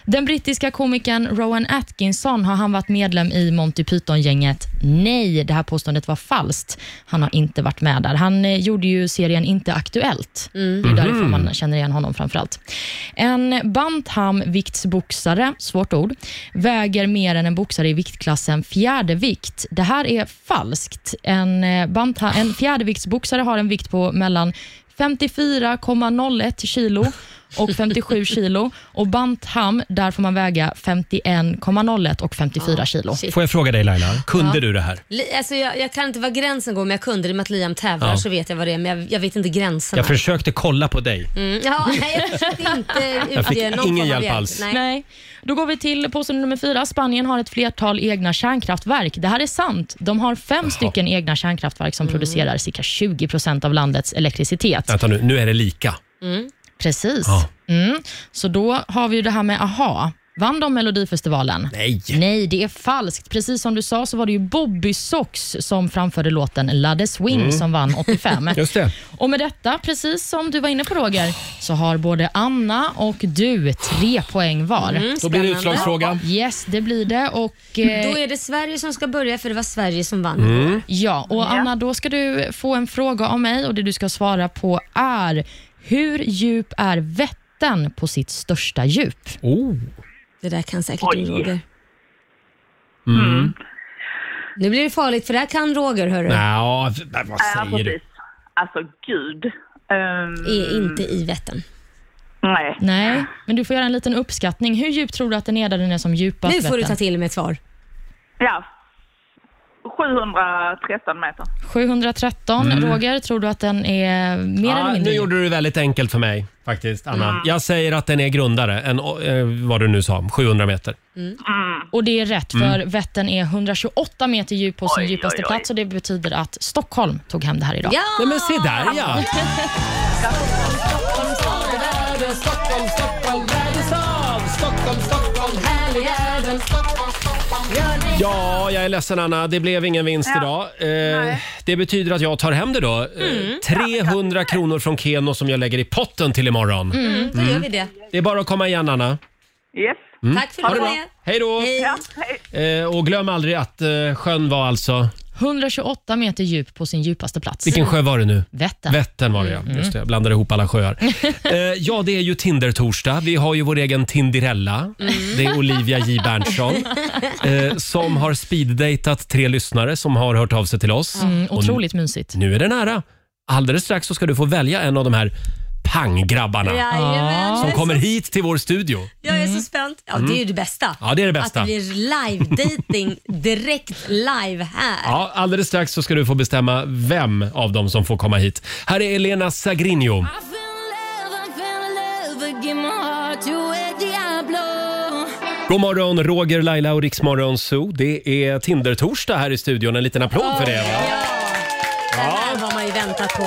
Den brittiska komikern Rowan Atkinson, har han varit medlem i Monty Python-gänget? Nej, det här påståendet var falskt. Han har inte varit med där. Han eh, gjorde ju serien Inte aktuellt. Det är därifrån man känner igen honom framförallt. En bantamviktsboxare, svårt ord, väger mer än en boxare i viktklassen fjärde vikt. Det här är falskt. En, eh, banta- en fjärdeviktsboxare har en vikt på mellan 54,01 kilo och 57 kilo. Och bantam, där får man väga 51,01 och 54 kilo.
shit.
Får jag fråga dig Laila, kunde du det här?
Li- Alltså jag, jag kan inte var gränsen går, men jag kunde det med att Liam tävlar
Ja.
så vet jag vad det är, men jag, jag vet inte gränserna.
Jag försökte kolla på dig.
Mm, ja, nej, jag försökte inte utge
Jag fick ingen
någon form av
hjälp
hjälp.
alls.
Nej.
Nej. Då går vi till påstående nummer fyra. Spanien har ett flertal egna kärnkraftverk. Det här är sant. De har fem stycken egna kärnkraftverk som producerar cirka 20 procent av landets elektricitet.
Mm. Vänta nu, nu är det lika.
Precis.
Ja.
Mm. Så då har vi ju det här med aha. Vann de Melodifestivalen?
Nej.
Nej, det är falskt. Precis som du sa så var det ju Bobby Sox som framförde låten La De Swing
Mm.
som vann 85.
Just det.
Och med detta, precis som du var inne på Roger, så har både Anna och du tre poäng var.
Då blir det
Spännande.
utslagsfråga.
Yes, det blir det. Och, eh,
Då är det Sverige som ska börja för det var Sverige som vann.
Mm.
ja, och Anna, då ska du få en fråga av mig och det du ska svara på är hur djup är Vättern på sitt största djup?
Oh.
Det där kan säkert du Roger.
Mm.
Nu blir det farligt för det här kan Roger hörru.
Nja, v- vad
Ja,
säger du?
precis. Alltså gud. Ehm,
Är inte i Vättern.
Nej.
Nej, men du får göra en liten uppskattning. Hur djup tror du att den är där den är som djupast?
Nu får du
Vättern?
ta till med ett svar.
Ja. 713 meter.
713. Roger, tror du att den är mer eller
Ja,
mindre
nu
djup?
gjorde du det väldigt enkelt för mig faktiskt, Anna. Jag säger att den är grundare än eh, vad du nu sa, 700 meter.
Och det är rätt, för Vättern är 128 meter djup på sin djupaste plats och det betyder att Stockholm tog hem det här idag.
Ja!
Nej, men se där ja! Ja, jag är ledsen Anna. Det blev ingen vinst idag. Eh, det betyder att jag tar hem det då. Eh, 300 kronor från Keno som jag lägger i potten till imorgon.
Mm, då gör vi det.
Det är bara att komma igen Anna.
Yes.
Mm.
Tack för att du var med.
Hej då!
Hej.
Ja, hej.
Eh, och glöm aldrig att eh, sjön var alltså...
128 meter djup på sin djupaste plats.
Vilken sjö var det nu?
Vättern. Mm-hmm.
Vättern var det ja. Just det, jag blandade ihop alla sjöar. Eh, ja, det är ju Tinder-torsdag. Vi har ju vår egen Tindirella.
Mm.
Det är Olivia J Berntsson eh, som har speeddejtat tre lyssnare som har hört av sig till oss.
Mm, otroligt mysigt.
Nu är det nära. Alldeles strax så ska du få välja en av de här panggrabbarna
Jajamän.
som kommer hit till vår studio.
Jag är så spänd. Ja, det är ju det bästa.
Mm. Ja, det är det
Att det
bästa.
blir live-dating direkt live här.
Ja, alldeles strax så ska du få bestämma vem av dem som får komma hit. Här är Elena Sagrinho. God morgon, Roger, Laila och Riksmorgon Zoo. Det är Tinder-torsdag här i studion. En liten applåd för det. Va?
Det här har man ju väntat på.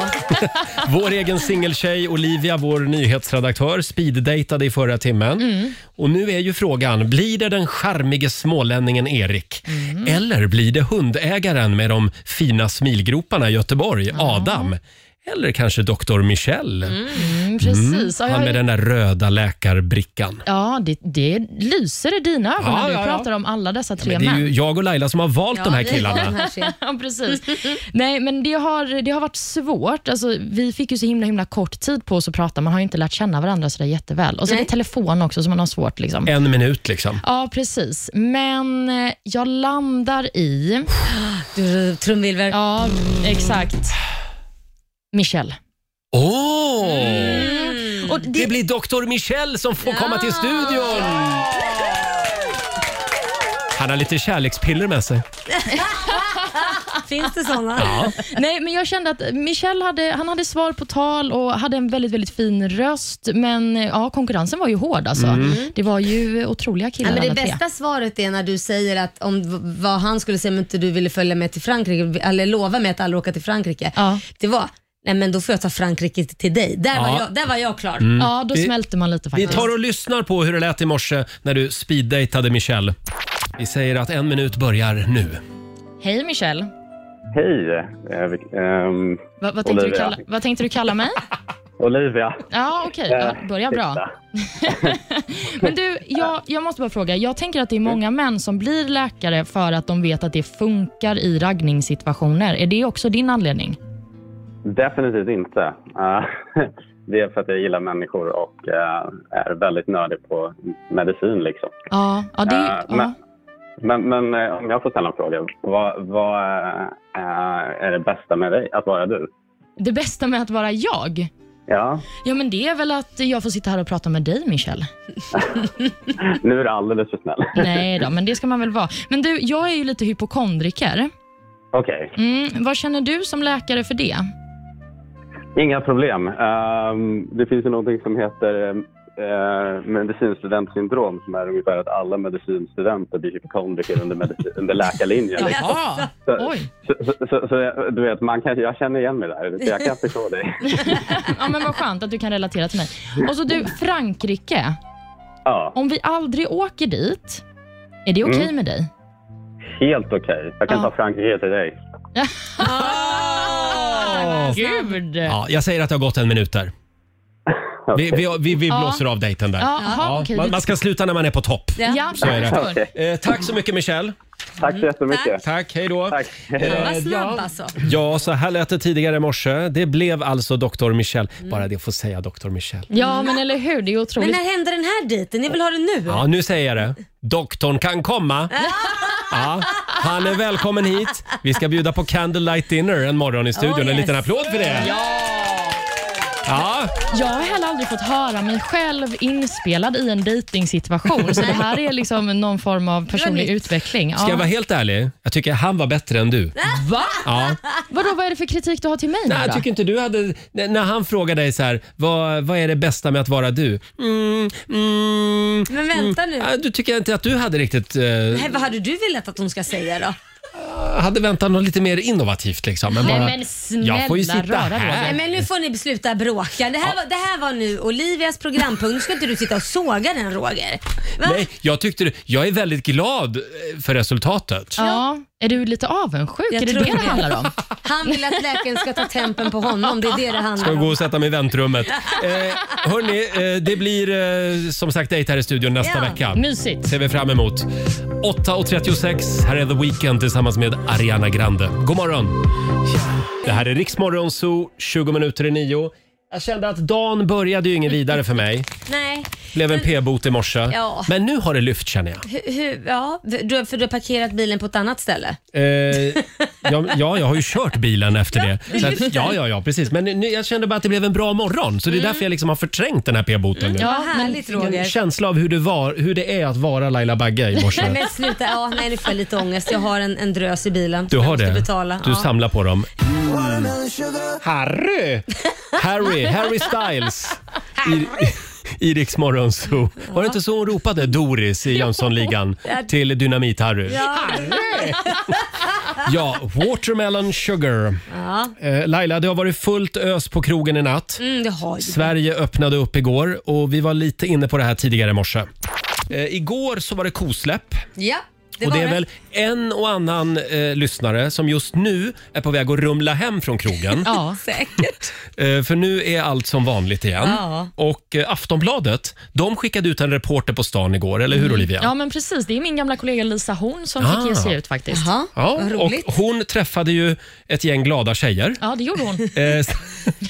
Vår egen singeltjej Olivia, vår nyhetsredaktör, speeddejtade i förra timmen.
Mm.
Och nu är ju frågan, blir det den charmige smålänningen Erik?
Mm.
Eller blir det hundägaren med de fina smilgroparna i Göteborg, Adam? Eller kanske Dr. Michel?
Mm, precis. Ja, jag
Han
har
med
ju-
den där röda läkarbrickan.
Ja, det, det lyser i dina ögon
Ja,
när du
ja, ja.
pratar om alla dessa tre
Men det är
män.
ju jag och Laila som har valt de här
Ja, det är de
killarna.
här tre.
Ja, precis. Nej, men det har, det har varit svårt. Alltså, vi fick ju så himla, himla kort tid på oss att prata. Man har ju inte lärt känna varandra så där jätteväl. Och så är det
Nej.
telefon också, som man har svårt. Liksom.
En minut liksom.
Ja, precis. Men eh, jag landar i...
Du, Trumvirvel.
Ja, exakt. Michelle.
Åh!
Mm. Och det,
Det blir Dr. Michel som får komma till studion! Han har lite kärlekspiller med sig.
Finns det såna? Ja.
Nej, men jag kände att Michel hade, han hade svar på tal och hade en väldigt, väldigt fin röst. Men eh, ja, konkurrensen var ju hård alltså.
Mm.
Det var ju otroliga killar
men det
alla tre.
bästa svaret är när du säger att om v- vad han skulle säga om inte du ville följa med till Frankrike, eller lova mig att aldrig åka till Frankrike.
Ja.
Mm.
Det var, nej men då får jag ta Frankrike till dig. Där,
Ja. Mm.
var, jag, där var jag klar.
Ja, då
Vi-
smälte man
Vi
lite faktiskt.
tar och lyssnar på hur det lät i morse när du speeddejtade Michelle. Vi säger att en minut börjar nu.
Hej Michel.
Hej! eh, vil- ehm,
Va, vad, tänkte du
Olivia.
kalla, vad tänkte du kalla mig?
Olivia.
Ja, okej. Ja, börja bra.
Titta.
Men du, jag, jag måste bara fråga. Jag tänker att det är många män som blir läkare för att de vet att det funkar i raggningssituationer. Är det också din anledning?
Definitivt inte. Eh, det är för att jag gillar människor och eh, är väldigt nördig på medicin. Liksom.
Ja, ja, det,
Äh,
Eh,
ja.
men men, men eh, om jag får ställa en fråga. Vad, vad eh, är det bästa med dig, att vara du?
det bästa med att vara jag?
Ja,
Ja, men det är väl att jag får sitta här och prata med dig, Michel.
nu är du alldeles för snäll.
Nej då, men det ska man väl vara. Men du, jag är ju lite hypokondriker.
Okej,
Mm, vad känner du som läkare för det?
inga problem. Ehm, det finns ju någonting som heter eh, medicinstudentsyndrom som är ungefär att alla medicinstudenter blir hypokondriker under, medicin, under läkarlinjen. liksom.
Jaha.
Så-
Oj.
Så, så, så, så jag- du vet, man kan, jag känner igen mig där. Så jag kan förstå dig.
Ja, men vad skönt att du kan relatera till mig. Och så du, Frankrike.
Ja,
Om vi aldrig åker dit, är det okej
Mm.
med dig?
helt okej. Jag kan
Ja.
ta Frankrike till dig.
Gud! Ja,
Ja, jag säger att det har gått en minut där. Vi,
Okej.
vi, vi, vi blåser av dejten där.
aha, okej.
man, man ska sluta när man är på topp.
Ja, så
är
är
det.
det.
Eh, tack så mycket Michelle.
Tack så jättemycket.
Tack, hej då.
Tack.
Vad snabb alltså.
Ja, så här lät det tidigare i morse. Det blev alltså Dr. Michelle.
Mm.
Bara det får säga Dr. Michelle.
Ja, men eller hur? Det är
Men
otroligt.
när hände den här dejten? Ni vill ha det nu?
Ja, nu säger jag det. Doktorn kan komma. Ja, han är välkommen hit. Vi ska bjuda på candlelight dinner en morgon i studion.
Oh,
En
yes.
liten applåd för det. Ja. Ja,
Jag har heller aldrig fått höra mig själv inspelad i en dejtingsituation, så det här är liksom någon form av personlig
nytt.
utveckling.
ska jag
Ja.
vara helt ärlig? Jag tycker han var bättre än du.
Va?
Ja.
Vadå, vad är det för kritik du har till mig nu
Nej, jag
då?
tycker inte du hade... N- När han frågade dig så här, vad, vad är det bästa med att vara du? Mm, mm,
Men vänta nu.
ja, du tycker inte att du hade riktigt... Eh,
Nej, vad hade du velat att hon ska säga då?
hade väntat något lite mer innovativt liksom. Men bara,
men snälla,
jag får ju sitta
rara
här.
Nej, men nu får ni sluta bråka. Det här, var, det här var nu Olivias programpunkt. Nu ska inte du sitta och såga den Roger. Va?
Nej, jag, tyckte, det- jag är väldigt glad eh, för resultatet.
Ja, är du lite avundsjuk?
Jag
är det
tror
det det
det.
handlar om?
Han vill att läkaren ska ta tempen på honom. Det är det det handlar
Jag går
om.
och sätta mig i väntrummet. Eh, hörni, eh, det blir eh, som sagt dejt här i studion nästa
Ja.
vecka.
Mysigt.
ser vi fram emot. 8.36, här är The Weeknd tillsammans med Ariana Grande. God morgon! Det här är Riksmorgon Zoo, 20 minuter i nio. Jag kände att dagen började ju ingen vidare för mig.
Nej,
Blev en p-bot i morse.
Ja.
Men nu har det lyft känner jag.
hur, hur, ja, du, har- för du har parkerat bilen på ett annat ställe.
Eh, ja, ja, jag har ju kört bilen efter det. Så att, ja, ja, ja, precis. Men nu, jag kände bara att det blev en bra morgon. Så det är därför jag liksom har förträngt den här p-boten nu.
Vad härligt
En
Roger.
känsla av hur det, var, hur det är att vara Laila Bagge i morse.
Nej men sluta, ja, nej, nu får jag lite ångest. Jag har en, en drös i bilen.
Du
Jag
har
måste
det?
Betala.
Du
ja.
samlar på dem. Harry! Harry, Harry Styles. I, i Rix Morgon Zoo. Var det inte så hon ropade, Doris i Jönssonligan, till Dynamit-Harry?
Ja.
Ja, Watermelon Sugar.
Ja.
Eh, Laila, det har varit fullt ös på krogen i natt.
Mm, det har ju.
Sverige öppnade upp igår och vi var lite inne på det här tidigare i morse. Eh, igår så var det kosläpp
Ja, det
och
var
det är väl en och annan eh, lyssnare som just nu är på väg att rumla hem från krogen.
Ja.
Säkert.
eh, för nu är allt som vanligt igen.
Ja.
Och eh, Aftonbladet, de skickade ut en reporter på stan igår, eller
Mm.
hur Olivia?
ja, men precis. Det är min gamla kollega Lisa Horn som
Ah.
fick ge sig ut faktiskt.
Jaha,
Ja,
vad roligt.
och hon träffade ju ett gäng glada tjejer.
Ja, det gjorde hon.
Eh, s-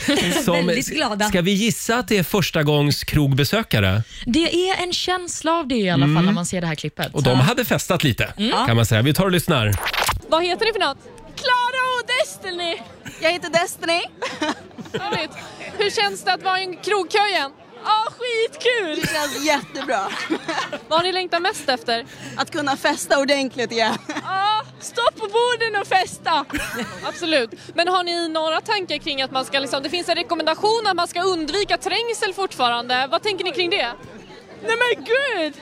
Väldigt glada.
Ska vi gissa att det är första gångs krogbesökare?
Det är en känsla av det i alla fall när man ser det här klippet.
Mm. Och de hade festat lite,
Mm.
kan man säga. Vi tar och lyssnar.
Vad heter det för något?
Klara och Destiny! Jag heter Destiny.
Härligt. Hur känns det att vara i en krogkö igen? Ja, skitkul!
Det känns jättebra.
Vad har ni längtat mest efter?
Att kunna festa ordentligt igen.
Ja, stå på borden och festa! Absolut. Men har ni några tankar kring att man ska liksom, det finns en rekommendation att man ska undvika trängsel fortfarande. Vad tänker ni kring det? Nej men gud!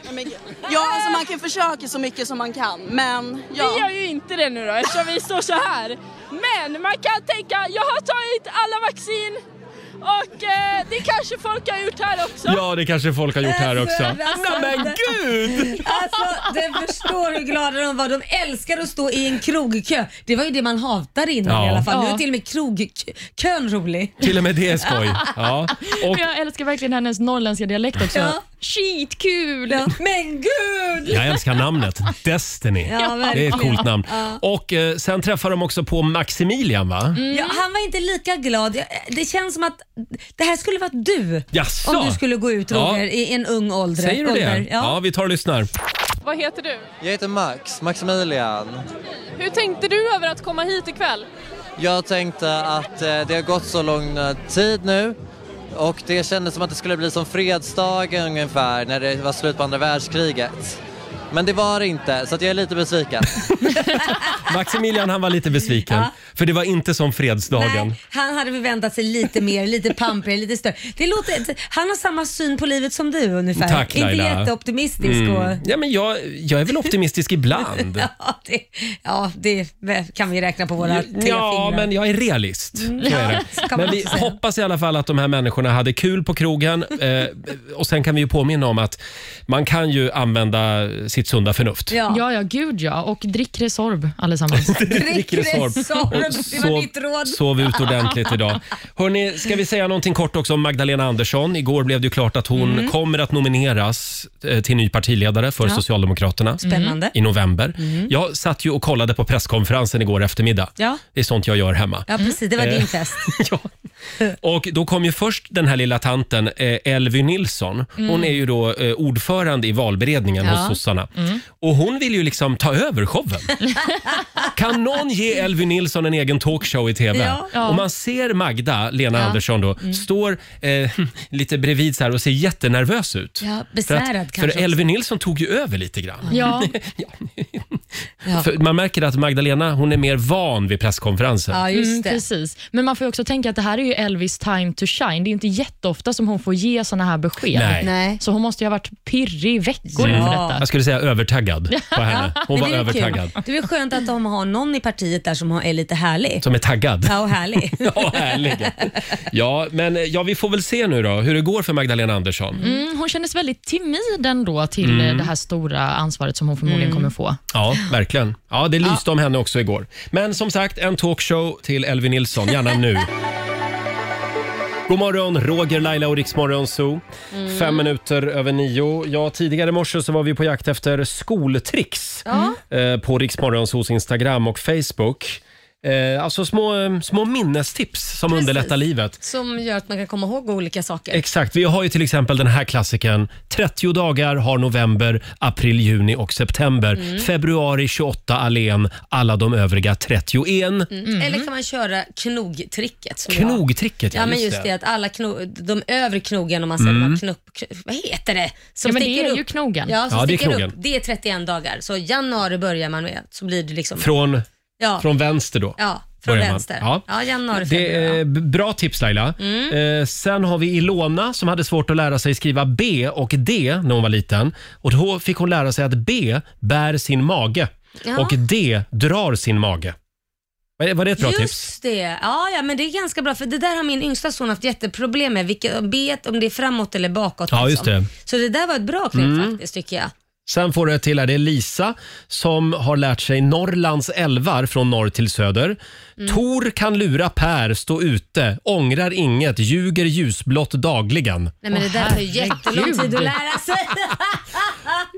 Ja, alltså man kan försöka så mycket som man kan, men
Vi gör
ja.
ju inte det nu då eftersom vi står så här. Men man kan tänka, jag har tagit alla vaccin och eh, det kanske folk har gjort här också.
Ja, det kanske folk har gjort här också. Nej, men gud!
Alltså, du förstår hur glada de var. De älskar att stå i en krogkö. Det var ju det man hatade innan
Ja.
i alla fall. Nu är
Ja.
till och med krogkön rolig.
Till och med det är skoj. Ja. Och
Men Jag älskar verkligen hennes norrländska dialekt också.
Ja.
Skitkul!
Ja. Men gud!
jag älskar namnet, Destiny.
Ja,
Det är
verkligen.
ett coolt namn.
Ja. Mm.
Och eh, sen träffar de också på Maximilian va?
Ja, han var inte lika glad. Jag- Det känns som att det här skulle varit du.
Jaså?
Om du skulle gå ut
Ja.
Roger i en ung ålder.
Säger du
ålder.
det? Ja,
Ja.
vi tar och lyssnar.
Vad heter du?
Jag heter Max, Maximilian.
Hur tänkte du över att komma hit ikväll?
Jag tänkte att eh, det har gått så lång eh, tid nu och det kändes som att det skulle bli som fredsdagen ungefär när det var slut på andra världskriget. Men det var det inte, så att jag är lite besviken.
Maximilian han var lite besviken. För det var inte som fredsdagen.
Nej, han hade förväntat sig lite mer, lite pampigare, lite större. Det låter, han har samma syn på livet som du ungefär.
Tack,
inte
Laila. Mm.
jätteoptimistisk. Och,
Ja, men jag, jag är väl optimistisk ibland.
Ja, det, ja, det kan vi räkna på våra tre
Ja,
fingrar. Mm.
men jag är realist. Så är det.
så kan
Men
man
vi
också säga.
hoppas i alla fall att de här människorna hade kul på krogen. Eh, och Sen kan vi ju påminna om att man kan ju använda sitt sunda förnuft.
Ja. Mm.
Ja, ja, gud ja. Och drick Resorb allesammans.
Drick Resorb.
Och
Det var mitt råd.
sov ut ordentligt idag. Hörrni, ska vi säga någonting kort också om Magdalena Andersson? Igår blev det ju klart att hon
Mm.
kommer att nomineras eh, till ny partiledare för Socialdemokraterna
Spännande. Mm.
i november. Jag satt ju och kollade på presskonferensen igår eftermiddag.
Ja.
Det är sånt jag gör hemma.
Ja, precis. Det var
Eh.
din fest.
Ja. Och då kom ju först den här lilla tanten eh, Elvy Nilsson. Hon
Mm.
är ju då eh, ordförande i valberedningen hos sossarna.
Mm.
Och hon vill ju liksom ta över showen. kan någon ge Elvy Nilsson en egen talkshow i TV?
Ja. Mm.
Ja.
Och man ser Magda, Lena Andersson då, står eh, lite bredvid så här och ser jättenervös ut.
Ja,
För,
besvärad
att,
kanske
för Elvy Nilsson tog ju över lite grann.
Ja,
Ja.
För man märker att Magdalena hon är mer van vid presskonferenser.
Ja, just
mm,
det.
precis. Men man får ju också tänka att det här är ju Elvis time to shine. Det är ju inte jätteofta som hon får ge såna här besked.
Nej.
Nej.
Så hon måste ju ha varit pirrig i veckor
Ja. Alltså-
inför detta.
Jag skulle säga övertaggad på henne. Hon
Det
var
blir ju kul.
övertaggad.
Det är väl skönt att de har någon i partiet där som har- är lite härlig.
Som är taggad.
Ja, och härlig.
Ja, härlig. Ja, men eh, ja, vi får väl se nu då hur det går för Magdalena Andersson.
Mm, hon kändes väldigt timid ändå till
Mm.
eh, det här stora ansvaret som hon förmodligen kommer få.
Ja, verkligen. Ja, det lyste om henne också igår. Men som sagt, en talkshow till Elvin Nilsson, gärna nu. God morgon, Roger, Laila och Riksmorgon Zoo. Fem minuter över nio. Ja, tidigare i morse så var vi på jakt efter skoltricks eh, på Riksmorgon Zoos Instagram och Facebook. Eh, Alltså små, eh, små minnestips som
Precis.
underlättar livet.
Som gör att man kan komma ihåg olika saker.
Exakt. Vi har ju till exempel den här klassiken. 30 dagar har november, april, juni och september.
Mm.
Februari 28 allén, alla de övriga 31.
Eller kan man köra knogtricket? Som jag-
Knogtricket,
Ja, men just det. att alla kno, de övre knogen, om man säger mm. knupp, kn- vad heter det? Som
Ja, men det
sticker
är
upp.
ju knogen.
Ja, som
Ja, det är
sticker
knogen.
Upp. Det är 31 dagar. Så januari börjar man med, så blir det liksom...
Från
Ja.
Från vänster då.
Ja, från
börjar man.
vänster.
Ja.
Ja, januari,
Det
februari. Mm.
är b- bra tips Laila. Eh, sen har vi Ilona som hade svårt att lära sig skriva B och D när hon var liten. Och då fick hon lära sig att B bär sin mage
Ja.
och D drar sin mage. Var det, var det ett bra
Just
tips?
det. Ja, ja, men det är ganska bra för det där har min yngsta son haft jätteproblem med. Vilket, bet, om det är framåt eller bakåt. liksom.
Ja, just det.
Så det där var ett bra knep faktiskt tycker jag.
Sen får du ett till här. Det är Lisa som har lärt sig Norrlands älvar från norr till söder.
Mm.
Tor kan lura Per, stå ute, ångrar inget, ljuger ljusblått dagligen.
Nej, men det där tar ju jättelång tid att lära sig.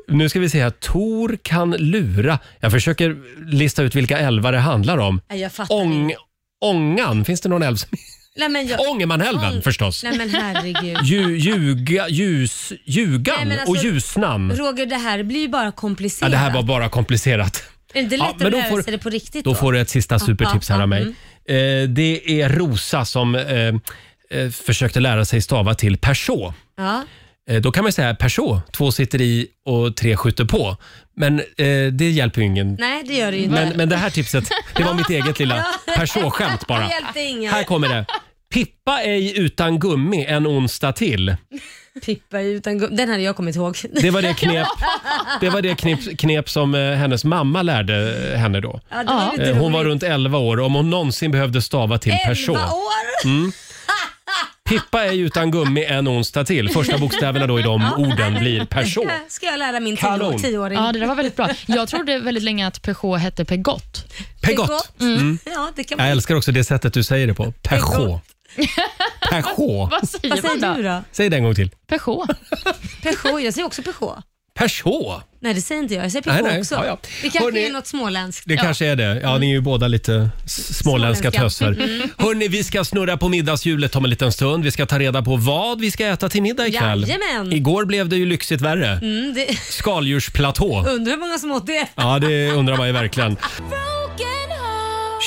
Nu ska vi se här. Tor kan lura. Jag försöker lista ut vilka älvar det handlar om.
Nej, jag fattar
Ång,
inte.
ångan, finns det någon älv som...
Nej, men jag,
Ångermanälven
Ång-
förstås.
Nej men herregud.
Lju, ljuga, ljus, ljugan
Nej, men alltså-
och ljusnan.
Roger, det här blir ju bara
Ja,
komplicerat.
det här var bara komplicerat.
Är det inte lätt
Ja, men
att
då
lära
får-
sig det på riktigt
Då får du ett sista supertips här
ja, Mm.
av mig. Eh, det är Rosa som eh, eh, försökte lära sig stava till Peugeot.
Ja.
Eh, då kan man ju säga Peugeot, två sitter i och tre skjuter på. Men eh, det hjälper ju ingen.
Nej, det gör det ju inte.
Men, men det här tipset, det var mitt eget lilla Peugeot-skämt bara.
Det hjälpte ingen.
Här kommer det. Pippa ej utan gummi en onsdag till.
Pippa är utan gum- Den hade jag kommit ihåg.
Det var det knep, det var det knep, knep som eh, hennes mamma lärde eh, henne då.
Ja, det var
Ja.
lite
Eh, Hon var
roligt.
runt 11 år om hon någonsin behövde stava till Peugeot.
11 år!
Pippa är utan gummi en onsdag till. Första bokstäverna då i de orden blir Peugeot.
Här ska jag lära min
Kanon.
tio- tioåring.
Ja, det där var väldigt bra. Jag trodde väldigt länge att Peugeot hette Pegott.
Pegott.
Mm. Ja, det kan
Mm. Jag
man.
älskar också det sättet du säger det på. Peugeot. Peugeot.
Vad säger,
Vad säger
man
du
då?
då?
Säg det en gång till.
Peugeot.
Peugeot, jag säger också Peugeot.
Peugeot.
Nej, det säger inte jag. Jag säger
Nej,
Peugeot
nej.
också.
Ja, ja.
Det kanske
Hörrni-
är något småländskt.
Det kanske är det. Ja, ni är ju båda lite s- småländska Mm.
Småländska.
töser. Hörni, vi ska snurra på middagshjulet om en liten stund. Vi ska ta reda på vad vi ska äta till middag ikväll.
Jajamän.
Igår blev det ju lyxigt värre.
Mm, det...
Skaldjursplatå.
Undrar hur många som åt det.
Ja, det undrar man ju verkligen.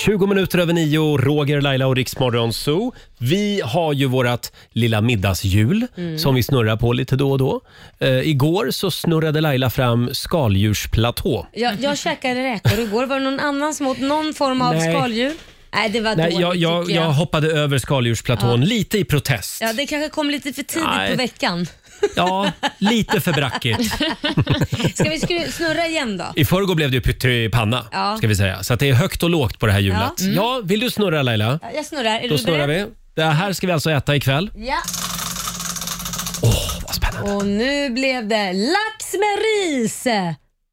20 minuter över nio, Roger, Laila och Riksmorgon Zoo. Vi har ju vårt lilla middagshjul
Mm.
som vi snurrar på lite då och då. Eh, igår så snurrade Laila fram skaldjursplatå.
Jag, jag käkade räkor igår. Var det någon annan som åt någon form av
Nej.
skaldjur? Nej, det var
Nej,
dåligt
jag, jag,
tycker jag.
jag hoppade över skaldjursplatån lite i protest.
Ja, det kanske kom lite för tidigt
Nej.
på veckan.
Ja, lite för brackigt.
Ska vi skru- snurra igen då?
I förrgår blev det ju pyttipanna,
Ja.
ska vi säga. Så att det är högt och lågt på det här hjulet. Ja,
Ja. Mm.
vill du snurra Laila?
Ja, Jag snurrar. Är
Då
du
snurrar
beredd?
vi. Det här ska vi alltså äta ikväll.
Ja.
Vad spännande.
Och nu blev det lax med ris.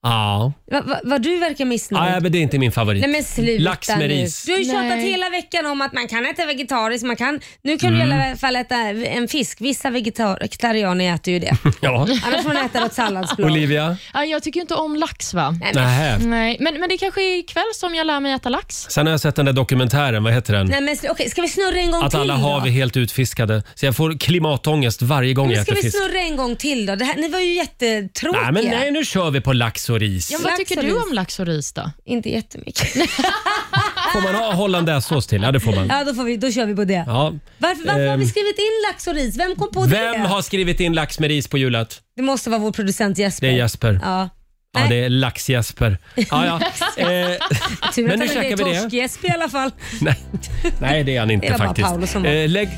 Ja,
Va, va, vad du verkar missnöjd.
Nej, men det är inte min favorit.
Nej men sluta
Lax med
nu.
ris.
Du har ju tjatat
Nej.
hela veckan om att man kan äta vegetariskt. Man kan, nu kan
Mm.
du i alla fall äta en fisk. Vissa vegetarianer äter ju det.
Ja.
Annars får man äta något salladsblad.
Olivia?
Ja, jag tycker ju inte om lax. va?
Nej, men-
Nähä.
Nej, men, men det kanske är ikväll som jag lär mig äta lax.
Sen har jag sett den där dokumentären, vad heter den?
Nej, men, sl- okej, ska vi snurra en gång
Att
till
alla
då?
hav är helt utfiskade. Så jag får klimatångest varje gång
Men
jag
ska
äter
vi
fisk.
snurra en gång till då? Det här, ni var ju jättetråkiga.
Nej, men nej, nu kör vi på lax och ris.
Ja,
Lax
vad tycker
och
du
ris.
om lax och ris då?
Inte jättemycket.
Får man ha hollandaisesås till? Ja, det får man.
ja, då, får vi, då kör vi på det.
Ja.
Varför, varför har
Ehm.
vi skrivit in lax och ris? Vem kom på det?
Vem har skrivit in lax med ris på hjulet?
Det måste vara vår producent Jesper.
Det är Jesper.
Ja.
Ja,
Nej.
det är lax-Jesper. Ja, ja. Eh,
Tur
Men
att
nu
han inte
käkar vi det.
är torsk-Jesper i alla fall.
nej, nej, det är han inte
Det var bara
faktiskt.
Paolo som var-
Eh, lägg,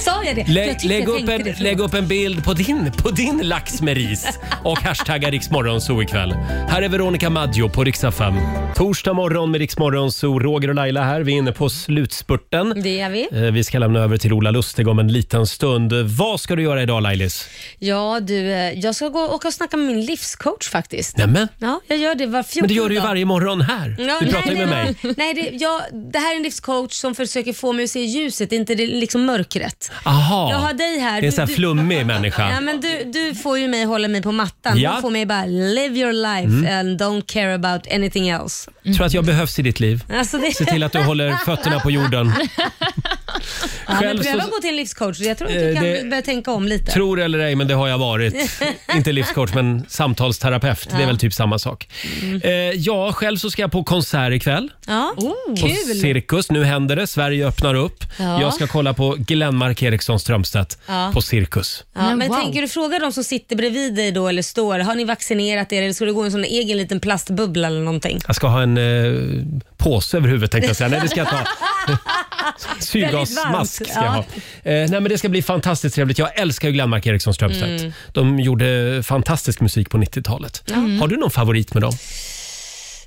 Sa jag det?
lä,
jag tyckte
lägg,
jag
upp
tänkte
en,
det, förlåt.
lägg upp en bild på din, på din lax med ris och hashtagga Riksmorgonzoo ikväll. Här är Veronica Maggio på riksdag 5. Torsdag morgon med Riksmorgonzoo. Roger och Laila här. Vi är inne på slutspurten.
Det är vi.
Eh, Vi ska lämna över till Ola Lustig om en liten stund. Vad ska du göra idag Lailis?
Ja, du, eh, jag ska gå och åka och snacka med min livscoach faktiskt.
Nämen,
Ja, jag gör det var 14
men det gör du ju
dag.
varje morgon här.
Ja,
Du
nej,
pratar ju
det
med
var-
mig.
Nej, det, jag, det här är en livscoach som försöker få mig att se ljuset, inte det, liksom mörkret.
Aha.
Jag har dig här.
Det är en
Du-
sån här
du-
flummig människa.
Ja, men du, du får ju mig hålla mig på mattan.
Ja. Mm.
Du får mig bara live your life and don't care about anything else.
Tror att jag behövs i ditt liv.
Alltså det,
Se till att du håller fötterna på jorden.
Ja, men
Själv
pröva
så-
att gå till en livscoach. Jag tror att
Eh,
du kan
det-
börja tänka om lite.
Tror eller ej, men det har jag varit. Inte livscoach, men samtalsterapeut. Det är väl typ samma sak.
Mm.
Eh, ja, själv så ska jag på konsert ikväll.
Ja.
På
Kul!
Cirkus. Nu händer det. Sverige öppnar upp.
Ja.
Jag ska kolla på Glenmark Eriksson Strömstedt
Ja.
på Cirkus.
Ja,
Men
men
wow.
tänker du fråga de som sitter bredvid dig då eller står, har ni vaccinerat er eller ska du gå i en sån egen liten plastbubbla eller någonting?
Jag ska ha en eh, påse över huvudet tänkte jag säga. Nej, det ska jag ta.
Väldigt varmt.
Syrgasmask ska jag ha. Eh, nej, men det ska bli fantastiskt trevligt. Jag älskar ju Glenmark Eriksson Strömstedt.
Mm.
De gjorde fantastisk musik på 90-talet. Har du någon favorit med dem?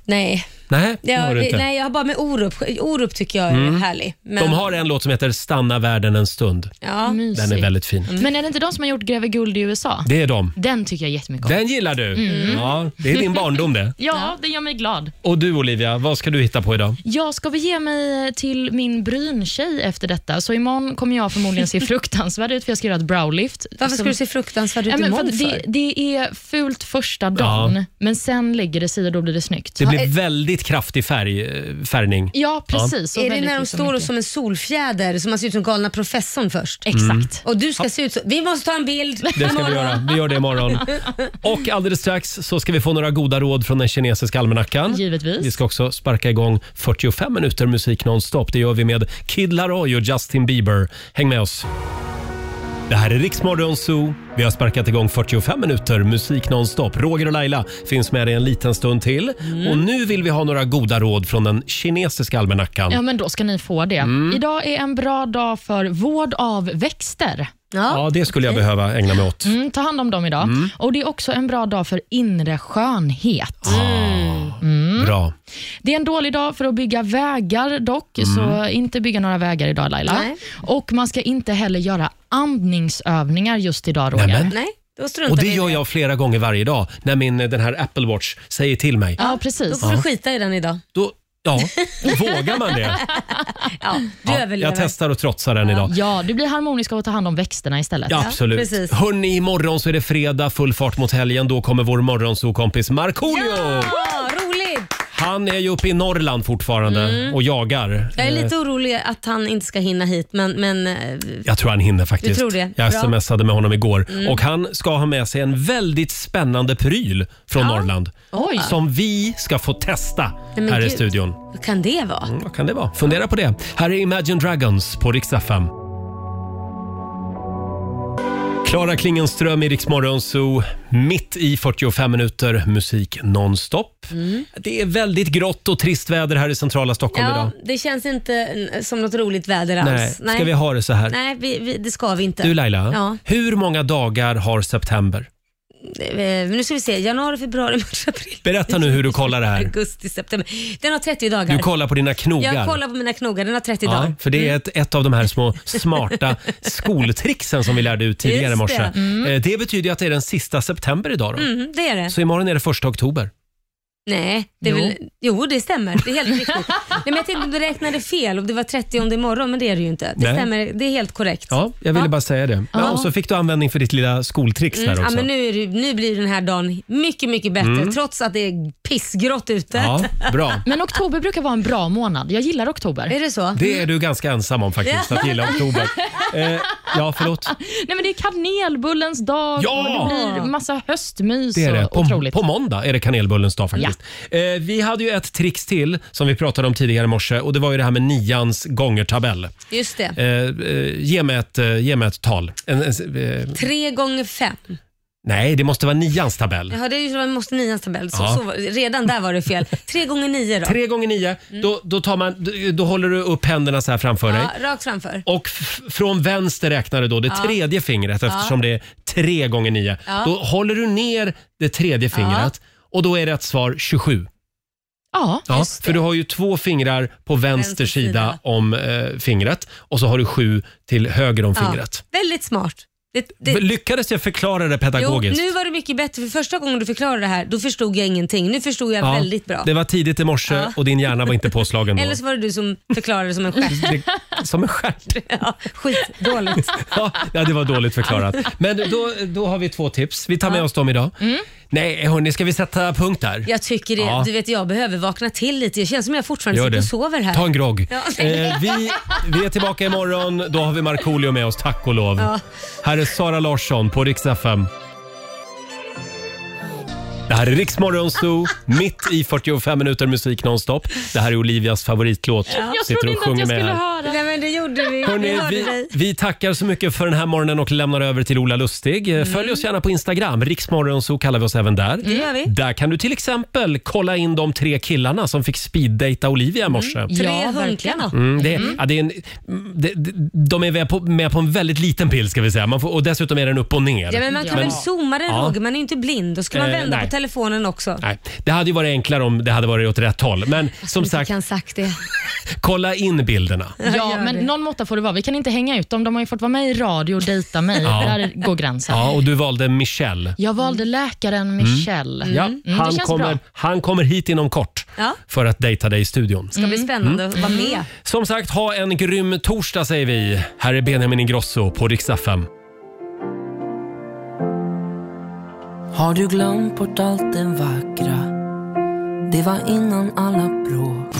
Nej,
Nej, det har
jag,
du inte. Mm.
nej, jag har bara med Orup. Orup tycker jag är härlig. Men,
De har en låt som heter Stanna världen en stund.
ja.
Mysigt.
Den är väldigt fin.
Men är det inte de som har gjort Greve Guld i USA?
Det är de.
Den tycker jag jättemycket om.
Den gillar du. Ja, det är din barndom det.
Ja, det gör mig glad.
Och du Olivia, vad ska du hitta på idag?
Jag ska bege mig till min bryntjej efter detta, så imorgon kommer jag förmodligen se fruktansvärd ut för jag ska göra ett browlift.
Varför
Som-
ska du se fruktansvärd ut
Ja, men för
imorgon
att
för?
det, det är fult första dagen, men sen lägger det sig och då blir det snyggt.
Det blir väldigt kraftig färg, eh, färgning.
Ja, precis. och
Är det
väldigt
när de
liksom
står och
mycket.
som en solfjäder, som man ser ut som galna professorn först?
Exakt.
Och du ska se ut så. Vi måste ta en bild
Det ska vi
imorgon.
göra. Vi gör det imorgon. Och alldeles strax så ska vi få några goda råd från den kinesiska
Mm.
almanackan.
Givetvis.
Vi ska också sparka igång 45 minuter musik nonstop. Det gör vi med Kid Laroi och Justin Bieber. Häng med oss. Det här är Riksmorgon Zoo. Vi har sparkat igång 45 minuter musik nonstop. Roger och Laila finns med dig en liten stund till. Och nu vill vi ha några goda råd från den kinesiska almanackan.
Ja, men då ska ni få det.
Mm.
Idag är en bra dag för vård av växter.
Ja, det skulle jag behöva ägna mig åt.
Mm, ta hand om dem idag. Och Det är också en bra dag för inre skönhet.
Ah, Bra.
Det är en dålig dag för att bygga vägar dock,
Mm.
så inte bygga några vägar idag Laila.
Nej.
Och man ska inte heller göra andningsövningar just idag Roger.
Nämen.
Nej, då struntar
Och det
vi i
gör jag flera gånger varje dag när min, den här Apple Watch säger till mig.
Ja,
Då
precis.
får du skita i den idag.
Då, ja, vågar man det?
Ja, du
Ja,
överlever.
jag testar att trotsa den idag.
Ja, du blir harmonisk av att ta hand om växterna istället.
Ja, absolut.
precis.
Hörni, imorgon så är det fredag, full fart mot helgen. Då kommer vår morgonsokompis Markoolio!
Ja, Ah, roligt!
Han är ju uppe i Norrland fortfarande och jagar.
Mm. Jag är lite orolig att han inte ska hinna hit, men, men eh,
Jag tror han hinner faktiskt.
Du tror det?
Jag
Bra. Mm.
smsade med honom igår. Och han ska ha med sig en väldigt spännande pryl från Norrland.
Oj.
Som vi ska få testa
men
här i
gud.
studion.
vad kan det vara?
Mm, Vad kan det vara? Fundera på det. Här är Imagine Dragons på Rix FM. Klara Klingenström i Rix Morgon Zoo, mitt i 45 minuter musik nonstop. Det är väldigt grått och trist väder här i centrala Stockholm
Mm. Ja,
idag.
det känns inte eh, som något roligt väder
Nej,
alls.
ska vi ha det så här?
Nej vi, vi, det ska vi inte.
Du Laila,
Ja.
hur många dagar har september?
Eh, Nu ska vi se, januari, februari, mars, april,
Berätta nu hur du kollar det här.
augusti, september. Den har 30 dagar.
Du kollar på dina knogar.
jag kollar på mina knogar, den har 30
Ja,
dagar.
för det är ett, ett av de här små smarta skoltricksen som vi lärde ut tidigare i
Just
morse.
det.
Det. det betyder ju att det är den sista september idag då.
Mm, det är det.
Så imorgon är det första oktober.
Nej, det är
Jo.
Väl, jo det stämmer. Det är helt riktigt. Nej, men jag tänkte om du räknade fel, om det var 30 imorgon, men det är det ju inte. Det
Nej.
stämmer, det är helt korrekt.
Ja, jag ville
Ja.
bara säga det. Ja. Och så fick du användning för ditt lilla skoltricks där
Mm,
också. Mm.
ja, men nu, är det, nu blir den här dagen mycket, mycket bättre trots att det är pissgrått ute.
Ja, bra.
Men oktober brukar vara en bra månad. Jag gillar oktober.
Är det så?
Det är du ganska ensam om faktiskt, att gilla oktober. Eh, ja, förlåt.
Nej, men det är kanelbullens dag
Ja!
och det blir massa höstmys.
Det är det.
och
På,
Otroligt.
på måndag är det kanelbullens dag faktiskt. Eh, vi hade ju ett trix till som vi pratade om tidigare i morse och det var ju det här med nians gångertabell.
Just det.
Eh, eh, ge, mig ett, eh, ge mig ett tal. En, en, eh,
Tre gånger fem.
nej, det måste vara nians tabell.
Jaha, det är ju så man måste nians tabell. Så,
Ja.
så, var- redan där var det fel. Tre gånger nio då.
Tre gånger nio, då, då, tar man, då, då håller du upp händerna så här framför dig.
Mm. ja, rakt framför.
Och f- från vänster räknar du då det tredje fingret eftersom det är tre gånger nio.
Ja.
Då håller du ner det tredje fingret och då är rätt svar 27.
Ja.
Ja, för du har ju två fingrar på vänster,
Vänster
sida,
sida.
om eh, fingret och så har du sju till höger om fingret.
Väldigt smart. Det, det,
Lyckades jag förklara det
jo,
pedagogiskt?
nu var det mycket bättre. För första gången du förklarade det här, då förstod jag ingenting. Nu förstod jag
Ja,
väldigt bra.
Det var tidigt i morse
Ja.
och din hjärna var inte påslagen då.
Eller så var det du som förklarade det som en gest.
Det, som en stjärt.
Ja, skitdåligt.
Ja, det var dåligt förklarat. Men då, då har vi två tips. Vi tar med oss dem idag. Nej, hörni, ska vi sätta punkt där?
Mm. Jag tycker det.
Ja.
Du vet, jag behöver vakna till lite. Det känns som jag fortfarande
Gör
sitter
det.
och sover här.
Ta en grogg.
Ja.
Eh, vi, vi är tillbaka imorgon. Då har vi Markoolio med oss, tack och lov.
Ja.
Här är Sara Larsson på Rix FM. Det här är Rix Morgon Zoo, mitt i 45 minuter musik nonstop. Det här är Olivias favoritlåt.
Jag
Sitter och
trodde inte att
sjunger
jag
med
skulle
här.
höra.
Nej, men det gjorde vi. vi
Hörrni,
hörde
vi,
dig.
vi tackar så mycket för den här morgonen och lämnar över till Ola Lustig. Eh, Följ oss gärna på Instagram. Riksmorgonzoo kallar vi oss även där.
Mm. Det gör vi.
Där kan du till exempel kolla in de tre killarna som fick speeddejta Olivia i
Mm.
morse.
Tre
Ja, verkligen.
hunkarna.
Mm, det, ja, det är en, det, det- de är med på, med på en väldigt liten pill ska vi säga. Man får, och dessutom är den upp och ner.
Ja, men man kan
Men-
väl zooma den
Ja.
Roger, man är ju inte blind. Då ska man
Eh,
vända
nej.
på telefonen också.
Nej, det hade ju varit enklare om det hade varit åt rätt håll. Men som
Inte
sagt,
kan sagt det.
kolla in bilderna.
Ja,
gör
men
det.
någon måtta får det vara. Vi kan inte hänga ut dem. De har ju fått vara med i radio och dejta mig. Där går gränsen.
Ja, och du valde Michelle.
Jag
Mm.
valde läkaren Michelle.
Ja,
det
han,
känns
kommer,
bra.
han kommer hit inom kort
Ja.
för att dejta dig i studion.
Det ska bli spännande att vara med.
Som sagt, ha en grym torsdag säger vi. Här är Benjamin Ingrosso på riksdag 5.
Har du glömt bort allt det vackra? Det var innan alla bråk.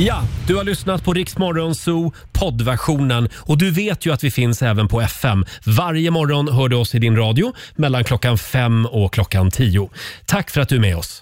Ja, du har lyssnat på Riksmorgon Zoo poddversionen och du vet ju att vi finns även på FM. Varje morgon hör du oss i din radio mellan klockan fem och klockan tio. Tack för att du är med oss.